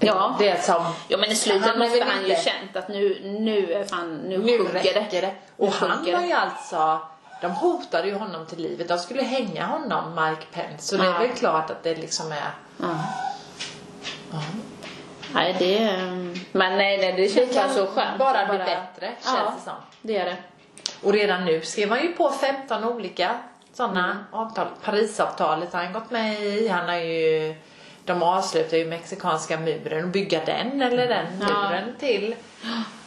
S2: Ja.
S1: det som
S2: Ja men i slutet
S1: Han har
S2: måste
S1: väl
S2: han ju
S1: inte-
S2: känt att nu, nu är fan, nu,
S1: nu
S2: sjunker
S1: räcker det. Och
S2: Nu
S1: han
S2: sjunker
S1: var
S2: det.
S1: ju alltså de hotade ju honom till livet. De skulle hänga honom, Mike Pence. Så det
S2: Ja.
S1: är väl klart att det liksom är...
S2: Ja. Nej det... ehm, Men nej, nej det känns bara så skönt.
S1: bara
S2: att
S1: bli bättre, känns
S2: ja,
S1: det som.
S2: det gör det.
S1: Och redan nu skrev han ju på 15 olika
S2: Mm.
S1: sådana avtal. Parisavtalet har han gått med i. Han har ju, de avslutar ju mexikanska muren och bygga den eller den
S2: Mm. Ja.
S1: muren till.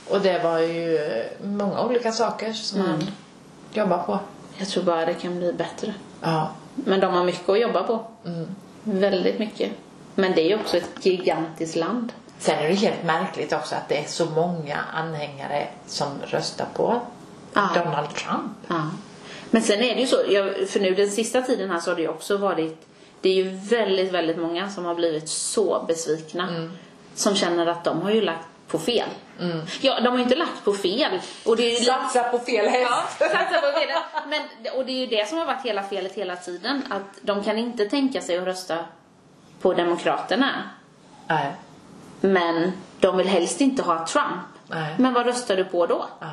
S1: Och det var ju många olika saker som
S2: Mm.
S1: han jobbar på.
S2: Jag tror bara det kan bli bättre.
S1: Ja.
S2: Men de har mycket att jobba på.
S1: Mm.
S2: Väldigt mycket. Men det är ju också ett gigantiskt land.
S1: Sen är det helt märkligt också att det är så många anhängare som röstar på
S2: Ja.
S1: Donald Trump.
S2: Ja. Men sen är det ju så, jag, för nu den sista tiden här så har det ju också varit, det är ju väldigt, väldigt många som har blivit så besvikna. Som känner att de har ju lagt på fel. Ja, de har ju inte lagt på fel. Och det är ju lite-
S1: Satsa på fel
S2: Ja,
S1: häst!
S2: satsa på fel. Men, och det är ju det som har varit hela felet hela tiden. Att de kan inte tänka sig att rösta på Demokraterna.
S1: Nej.
S2: Men de vill helst inte ha Trump.
S1: Nej.
S2: Men vad röstar du på då?
S1: Ja.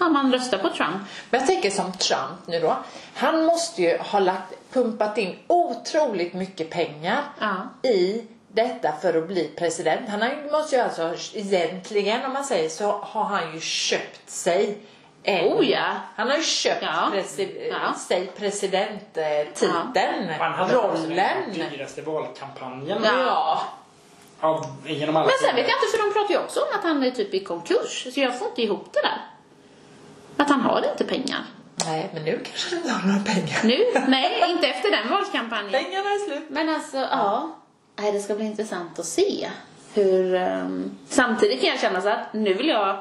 S2: Ja, man röstar på Trump.
S1: Men jag tänker som Trump nu då. Han måste ju ha lagt, pumpat in otroligt mycket pengar
S2: Ja.
S1: i detta för att bli president. Han har ju- måste ju alltså egentligen om man säger så har han ju köpt sig en,
S2: Oh ja.
S1: Han har ju köpt
S2: Ja.
S1: presi,
S2: Ja.
S1: sig presidenttiteln,
S3: Han hade också den
S1: rollen.
S3: dyraste valkampanjen
S2: Ja.
S1: Ja.
S3: av, genom alla
S2: Men sen
S3: tider.
S2: vet jag inte, för de pratar ju också om att han är typ i konkurs. Så jag får inte ihop det där. Att han har inte pengar.
S1: Nej, men nu kanske han inte har några pengar.
S2: Nu? Nej, inte efter den valkampanjen.
S1: Pengarna är slut.
S2: Men alltså, ja. Nej, det ska bli intressant att se. Hur... ehm, samtidigt kan jag känna så att nu vill jag...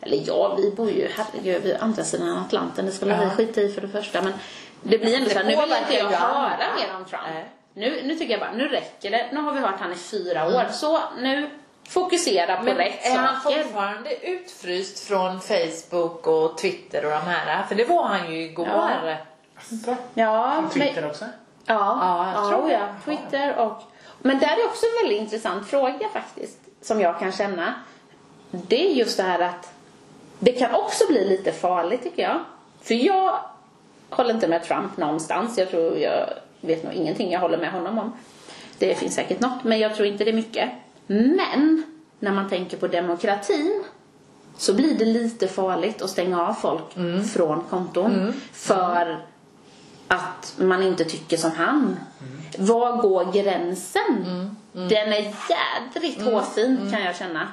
S2: Eller ja, vi bor ju, herregud, vi är andra sidan Atlanten. Det skulle vi
S1: Ja.
S2: skita i för det första. Men det blir ändå
S1: Det
S2: så här, nu vill
S1: påverkar
S2: inte jag
S1: ju alla.
S2: höra mer om Trump.
S1: Nej.
S2: Nu, nu tycker jag bara, nu räcker det. Nu har vi hört han i fyra år. Så nu, fokusera på
S1: Mm. Men
S2: rätt
S1: är han
S2: saker.
S1: fortfarande utfryst från Facebook och Twitter och de här? För det var han ju igår.
S2: Ja.
S3: Alltså,
S2: Ja, men-
S3: Twitter också.
S2: Ja,
S1: Ja, jag tror
S2: ja. Twitter och... Men där är också en väldigt intressant fråga faktiskt, som jag kan känna. Det är just det här att det kan också bli lite farligt tycker jag. För jag håller inte med Trump någonstans. Jag tror jag vet nog ingenting jag håller med honom om. Det finns säkert något, men jag tror inte det är mycket. Men när man tänker på demokratin så blir det lite farligt att stänga av folk
S1: Mm.
S2: från konton. För att man inte tycker som han. Var går gränsen? Den är jädrigt hårfin kan jag känna.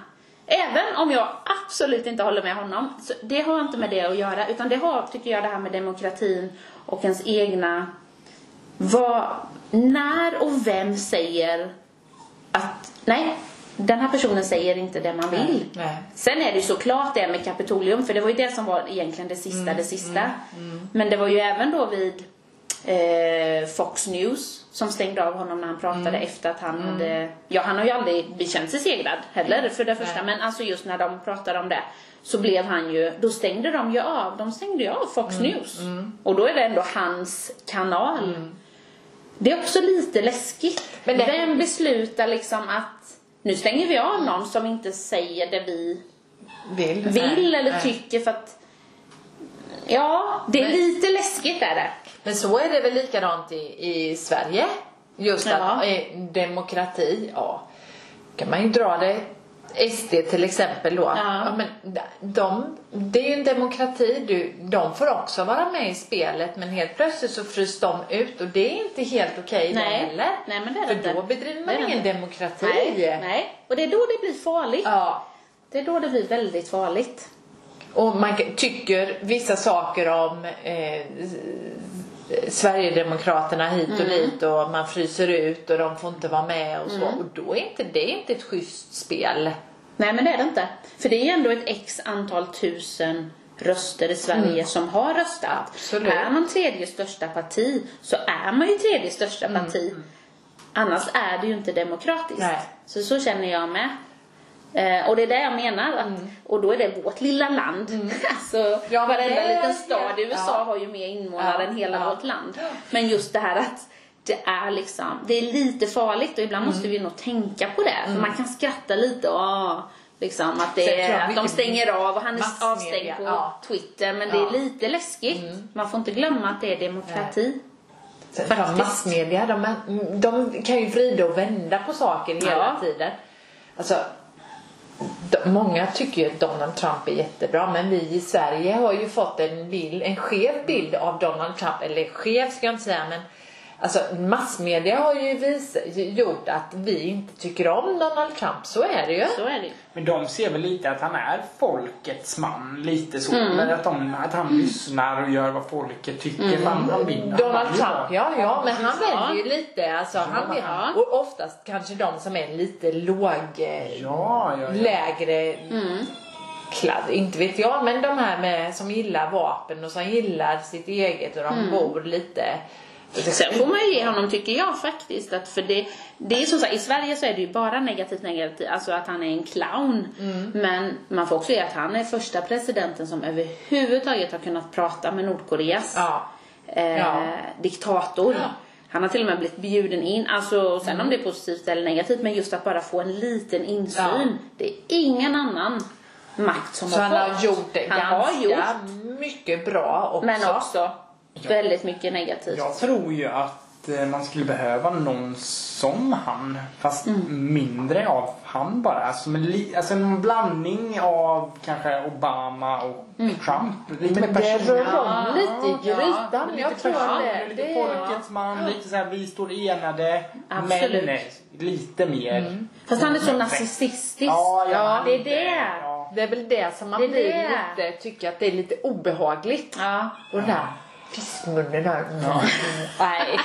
S2: Även om jag absolut inte håller med honom. Så det har inte med det att göra. Utan det har, tycker jag, det här med demokratin och ens egna... Vad, när och vem säger att nej, den här personen säger inte det man vill.
S1: Nej.
S2: Sen är det ju såklart det med Kapitolium, för det var ju det som var egentligen det sista,
S1: Mm,
S2: det sista. Men det var ju även då vid eh, Fox News som stängde av honom när han pratade
S1: Mm.
S2: efter att han hade... Ja, han har ju aldrig bekänt sig segrad heller för det första, men alltså just när de pratade om det så blev han ju... Då stängde de ju av, de stängde ju av Fox
S1: Mm,
S2: News. Och då är det ändå hans kanal. Det är också lite läskigt.
S1: Mm. Men det-
S2: Vem beslutar liksom att nu stänger vi av någon som inte säger det vi
S1: Vill.
S2: vill
S1: Nej,
S2: eller
S1: nej.
S2: tycker för att Ja, det är lite läskigt är det.
S1: Men så är det väl likadant i, i Sverige. Just
S2: Ja.
S1: att eh, demokrati, ja. kan man ju dra det. SD till exempel då.
S2: Ja.
S1: men d- de, det är ju en demokrati. Du, de får också vara med i spelet men helt plötsligt så fryser de ut och det är inte helt okej det
S2: Nej.
S1: heller.
S2: Nej, men det är
S1: För
S2: det inte.
S1: då bedriver
S2: Det
S1: man
S2: är det
S1: ingen
S2: inte.
S1: demokrati.
S2: Nej, nej. Och det är då det blir farligt.
S1: Ja.
S2: Det är då det blir väldigt farligt.
S1: Och man kan- tycker vissa saker om eh, s- Sverigedemokraterna hit och dit och man fryser ut och de får inte vara med och så. Och då är inte det är inte ett schysst spel.
S2: Nej, men det är det inte. För det är ju ändå ett x antal tusen röster i Sverige som har röstat.
S1: Mm. Absolut. Mm.
S2: Är man tredje största parti så är man ju tredje största parti. Annars är det ju inte demokratiskt.
S3: Nej.
S2: Så, så känner jag med. Eh, och det är det jag menar. Att, Och då är det vårt lilla land. alltså,
S1: Mm. Ja, men
S2: varenda
S1: det är-
S2: liten stad i USA
S1: ja.
S2: har ju mer invånare
S1: Ja,
S2: än hela
S1: ja.
S2: vårt land. Men just det här att det är liksom, det är lite farligt och
S1: Mm.
S2: ibland måste vi nog tänka på det. För man kan skratta lite och ah, liksom att, det
S1: Sen tror
S2: är,
S1: jag
S2: att de
S1: mycket
S2: stänger av och han är
S1: massmedia,
S2: avstängd på
S1: ja.
S2: Twitter. Men det
S1: Ja. Mm.
S2: är lite läskigt. Man får inte glömma att det är demokrati.
S1: Sen tar
S2: Faktiskt.
S1: massmedia, de, är- de kan ju vrida och vända på saker hela
S2: Ja.
S1: tiden. Alltså, de, många tycker ju att Donald Trump är jättebra men vi i Sverige har ju fått en bild, en skev bild av Donald Trump. Eller skev ska jag inte säga men alltså, massmedia har ju vis, gjort att vi inte tycker om Donald Trump. Så är det ju.
S2: Så är det ju.
S3: Men de ser väl lite att han är folkets man, lite så.
S2: Mm.
S3: Men att, de, att han lyssnar och gör vad folket tycker.
S2: Mm.
S3: Fan, han vinner.
S1: Donald
S3: Han
S1: Trump,
S3: vinner.
S1: ja, ja men han
S2: Ja.
S1: väljer ju lite. Alltså, han vill,
S2: Ja.
S1: Och oftast kanske de som är lite låg... eh,
S3: Ja, ja, ja.
S1: lägre
S2: Mm.
S1: kladd, inte vet jag, men de här med, som gillar vapen och som gillar sitt eget och de
S2: Mm.
S1: bor lite...
S2: Sen får man ju ge honom, tycker jag faktiskt, att för det, det är som sagt, i Sverige så är det ju bara negativt negativt, alltså att han är en clown.
S1: Mm.
S2: Men man får också ge att han är första presidenten som överhuvudtaget har kunnat prata med Nordkoreas
S1: Ja.
S2: eh,
S1: Ja.
S2: diktator.
S1: Ja. Mm.
S2: Han har till och med blivit bjuden in, alltså sen om det är positivt eller negativt, men just att bara få en liten insyn.
S1: Ja.
S2: Det är ingen annan makt som
S1: Så
S2: har
S1: han har
S2: fått.
S1: gjort det
S2: Han har
S1: ganska
S2: gjort,
S1: mycket bra också.
S2: men också väldigt mycket negativt.
S3: Jag tror ju att eh, man skulle behöva någon som han. Fast
S2: Mm.
S3: mindre av han bara. Alltså, men li, alltså en blandning av kanske Obama och
S2: Mm.
S3: Trump. Lite mer person.
S1: Ja, lite i grytan.
S3: Ja, lite
S1: jag tror
S3: person,
S1: det.
S3: Lite
S1: det
S3: folkets man. Lite så här, vi står enade.
S2: Absolut.
S3: Men eh, lite mer.
S2: Fast han är så narcissistisk.
S3: Ja, ja,
S2: det är det. Ja.
S3: Ja.
S1: Det är väl det som man
S2: Det är
S1: blir
S2: det.
S1: lite, tycker att det är lite obehagligt. Och den där fiskmunnen där. Nej.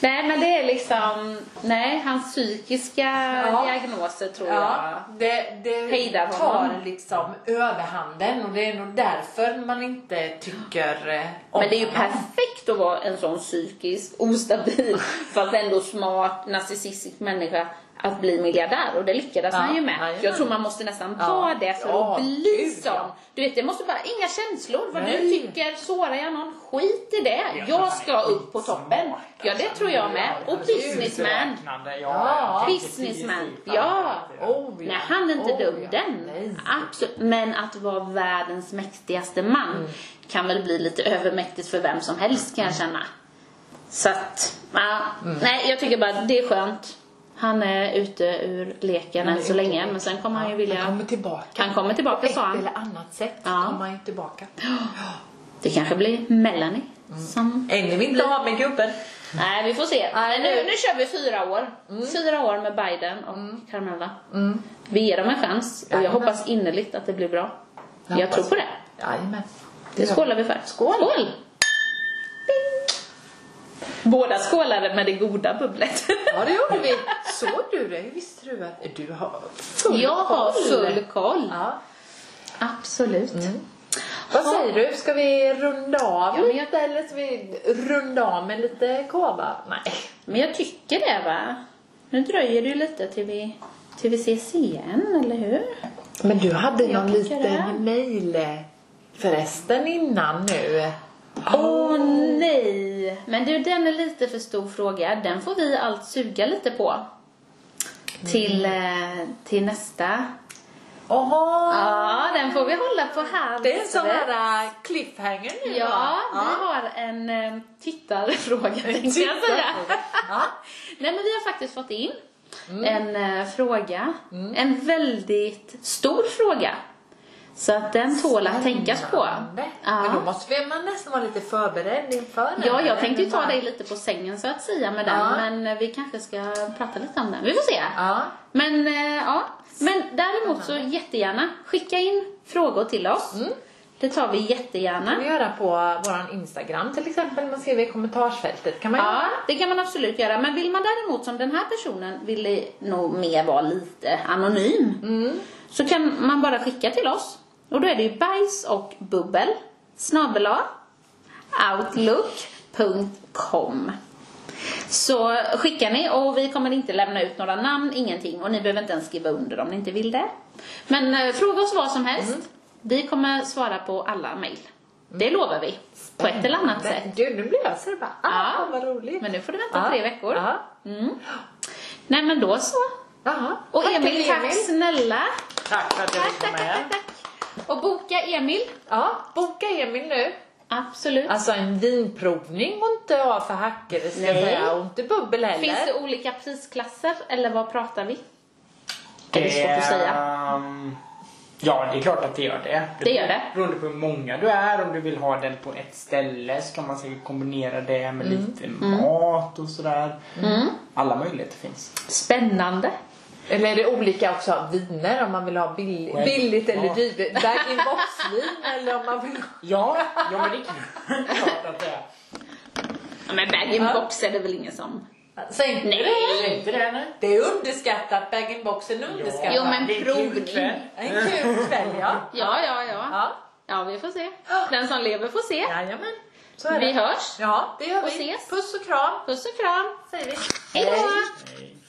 S2: Nej men det är liksom, nej hans psykiska
S1: Ja.
S2: diagnoser tror
S1: Ja, det, det
S2: Hejdar
S1: tar
S2: honom.
S1: liksom överhanden och det är nog därför man inte tycker eh, om
S2: jag. Men det är ju
S1: honom.
S2: perfekt att vara en sån psykisk ostabil fast ändå smart narcissistisk människa att bli miljardär och det lyckades
S1: Ja,
S2: han ju med.
S1: jajamän.
S2: jag tror man måste nästan
S1: Ja.
S2: vara det för
S1: Ja,
S2: att bli
S1: gud,
S2: sån.
S1: ja.
S2: Du vet det måste bara, inga känslor vad du
S1: Nej.
S2: tycker, sårar jag någon, skit i det.
S3: Ja, han är
S2: jag ska upp på toppen.
S3: skitsmart,
S2: Ja det
S3: alltså.
S2: tror jag med.
S3: Ja,
S2: Och
S3: han är
S2: businessman.
S3: uträknande.
S1: Ja.
S3: Ja,
S2: Businessman. Ja.
S1: Oh, ja.
S2: Nej, han är inte
S1: Oh,
S2: dum
S1: ja.
S2: den.
S1: Nej.
S2: Absolut. Men att vara världens mäktigaste man
S1: Mm.
S2: kan väl bli lite övermäktigt för vem som helst kan jag känna. Så att, ja.
S1: Mm.
S2: nej jag tycker bara det är skönt. Han är ute ur leken
S1: Han är
S2: än så
S1: ute.
S2: länge men sen kommer han ju vilja...
S1: Han kommer tillbaka.
S2: Han kommer tillbaka
S1: Ett
S2: sa han.
S1: eller annat sätt
S2: Ja.
S1: kommer han ju tillbaka.
S2: Det kanske blir Melanie
S1: Mm.
S2: som...
S1: Ännu vill inte ha med gubben.
S2: Nej vi får se.
S1: Nej,
S2: Men
S1: Mm.
S2: nu,
S1: nu-
S2: nu kör vi fyra år. Fyra år med Biden och Carmella. Vi ger dem en chans och jag
S1: Mm. Jajamän.
S2: hoppas innerligt att det blir bra.
S1: Jag
S2: Jag tror
S1: hoppas
S2: på det.
S1: Jajamän.
S2: Det skålar vi för. Skål! Båda skålade med det goda bubblet.
S1: Ja, det gjorde vi. Såg du det? Hur visste du att du har full
S2: Jag har
S1: koll?
S2: full koll. Mm.
S1: Ja.
S2: Absolut.
S1: Vad säger du? Ska vi runda av
S2: Ja, men jag-
S1: lite eller ska vi runda av med lite kava? Nej.
S2: Men jag tycker det va. Nu dröjer det ju lite till vi, till vi ses igen, eller hur?
S1: Men du hade
S2: Jag
S1: någon
S2: tycker det.
S1: liten mail eh, förresten innan nu.
S2: Åh nej! Men du, den är lite för stor fråga. Den får vi allt suga lite på. Till, eh, till nästa.
S1: Jaha!
S2: Ja, den får vi hålla på här.
S1: Det är en sån
S2: vet du.
S1: här eh, cliffhanger nu
S2: Ja,
S1: va?
S2: vi har en eh, tittarfråga tänkte jag säga.
S1: tittarfråga. Mm.
S2: Nej men vi har faktiskt fått in en eh, fråga. En väldigt stor fråga. Så att den tål att tänkas på.
S1: Spännande. Men då
S2: Ja.
S1: måste vi, man nästan vara lite förberedd inför den
S2: ja,
S1: här,
S2: jag tänkte ju
S1: eller
S2: ta
S1: bara-
S2: dig lite på sängen så att säga med den.
S1: Ja.
S2: Men eh, vi kanske ska prata lite om den. Vi får se.
S1: Ja.
S2: Men eh, ja. Men däremot så jättegärna skicka in frågor till oss.
S1: Mm.
S2: Det tar vi jättegärna.
S1: kan vi göra på våran Instagram till exempel. Man skriver i kommentarsfältet. Kan man
S2: Ja,
S1: göra?
S2: det kan man absolut göra. Men vill man däremot som den här personen ville nog mer vara lite anonym. Så kan man bara skicka till oss. Och då är det ju bajs och bubbel snabel-a outlook.com Så skickar ni och vi kommer inte lämna ut några namn, ingenting. Och ni behöver inte ens skriva under om ni inte vill det. Men eh, fråga oss vad som helst. Vi kommer svara på alla mejl. Det lovar vi. På ett eller annat sätt.
S1: Men Gud, nu blir jag så här bara, ah,
S2: Ja.
S1: vad roligt. Ah,
S2: Men nu får du vänta
S1: Ja.
S2: tre veckor.
S1: Ja.
S2: Mm. Nej men då så.
S1: Jaha.
S2: Och
S1: Tack
S2: Emil,
S1: till
S2: tack snälla.
S3: Tack för att jag
S2: Tack,
S3: fick
S2: tack,
S3: vara med.
S2: tack, tack. Och boka Emil.
S1: Ja, boka Emil nu.
S2: Absolut.
S1: Alltså en vinprovning och inte av för hackor ska jag
S2: Nej.
S1: säga. Och inte bubbel heller.
S2: Finns det olika prisklasser eller vad pratar vi?
S3: Det
S2: är svårt att säga.
S3: ehm, Ja, det är klart att det gör det.
S2: Det gör det.
S3: Beroende på hur många du är, om du vill ha den på ett ställe så kan man säkert kombinera det med lite mat och sådär. Alla möjligheter finns.
S2: Spännande.
S1: Eller är det olika också viner om man vill ha bill-
S3: Själv-
S1: billigt eller
S3: ja.
S1: dyrt? Bag-in-box-vin eller om man vill
S3: Ja, ja men det är klart att det är.
S2: Ja, men bag-in-box är det väl ingen som...
S1: Säg inte
S2: Nej.
S1: det.
S3: Inte det nej.
S1: Det är underskattat. Bag-in-boxen är underskattat.
S2: Jo, men
S3: Det är en kul
S2: provning.
S3: kväll.
S1: En kul kväll ja.
S2: Ja, ja, ja.
S1: ja.
S2: Ja, vi får se. Den som lever får se.
S1: Jajamän. Så är
S2: Vi
S1: det.
S2: hörs.
S1: Ja, det gör
S2: Och
S1: vi.
S2: ses.
S1: Puss och kram
S2: Puss och kram.
S1: säger vi.
S2: Hej då!
S3: Nej.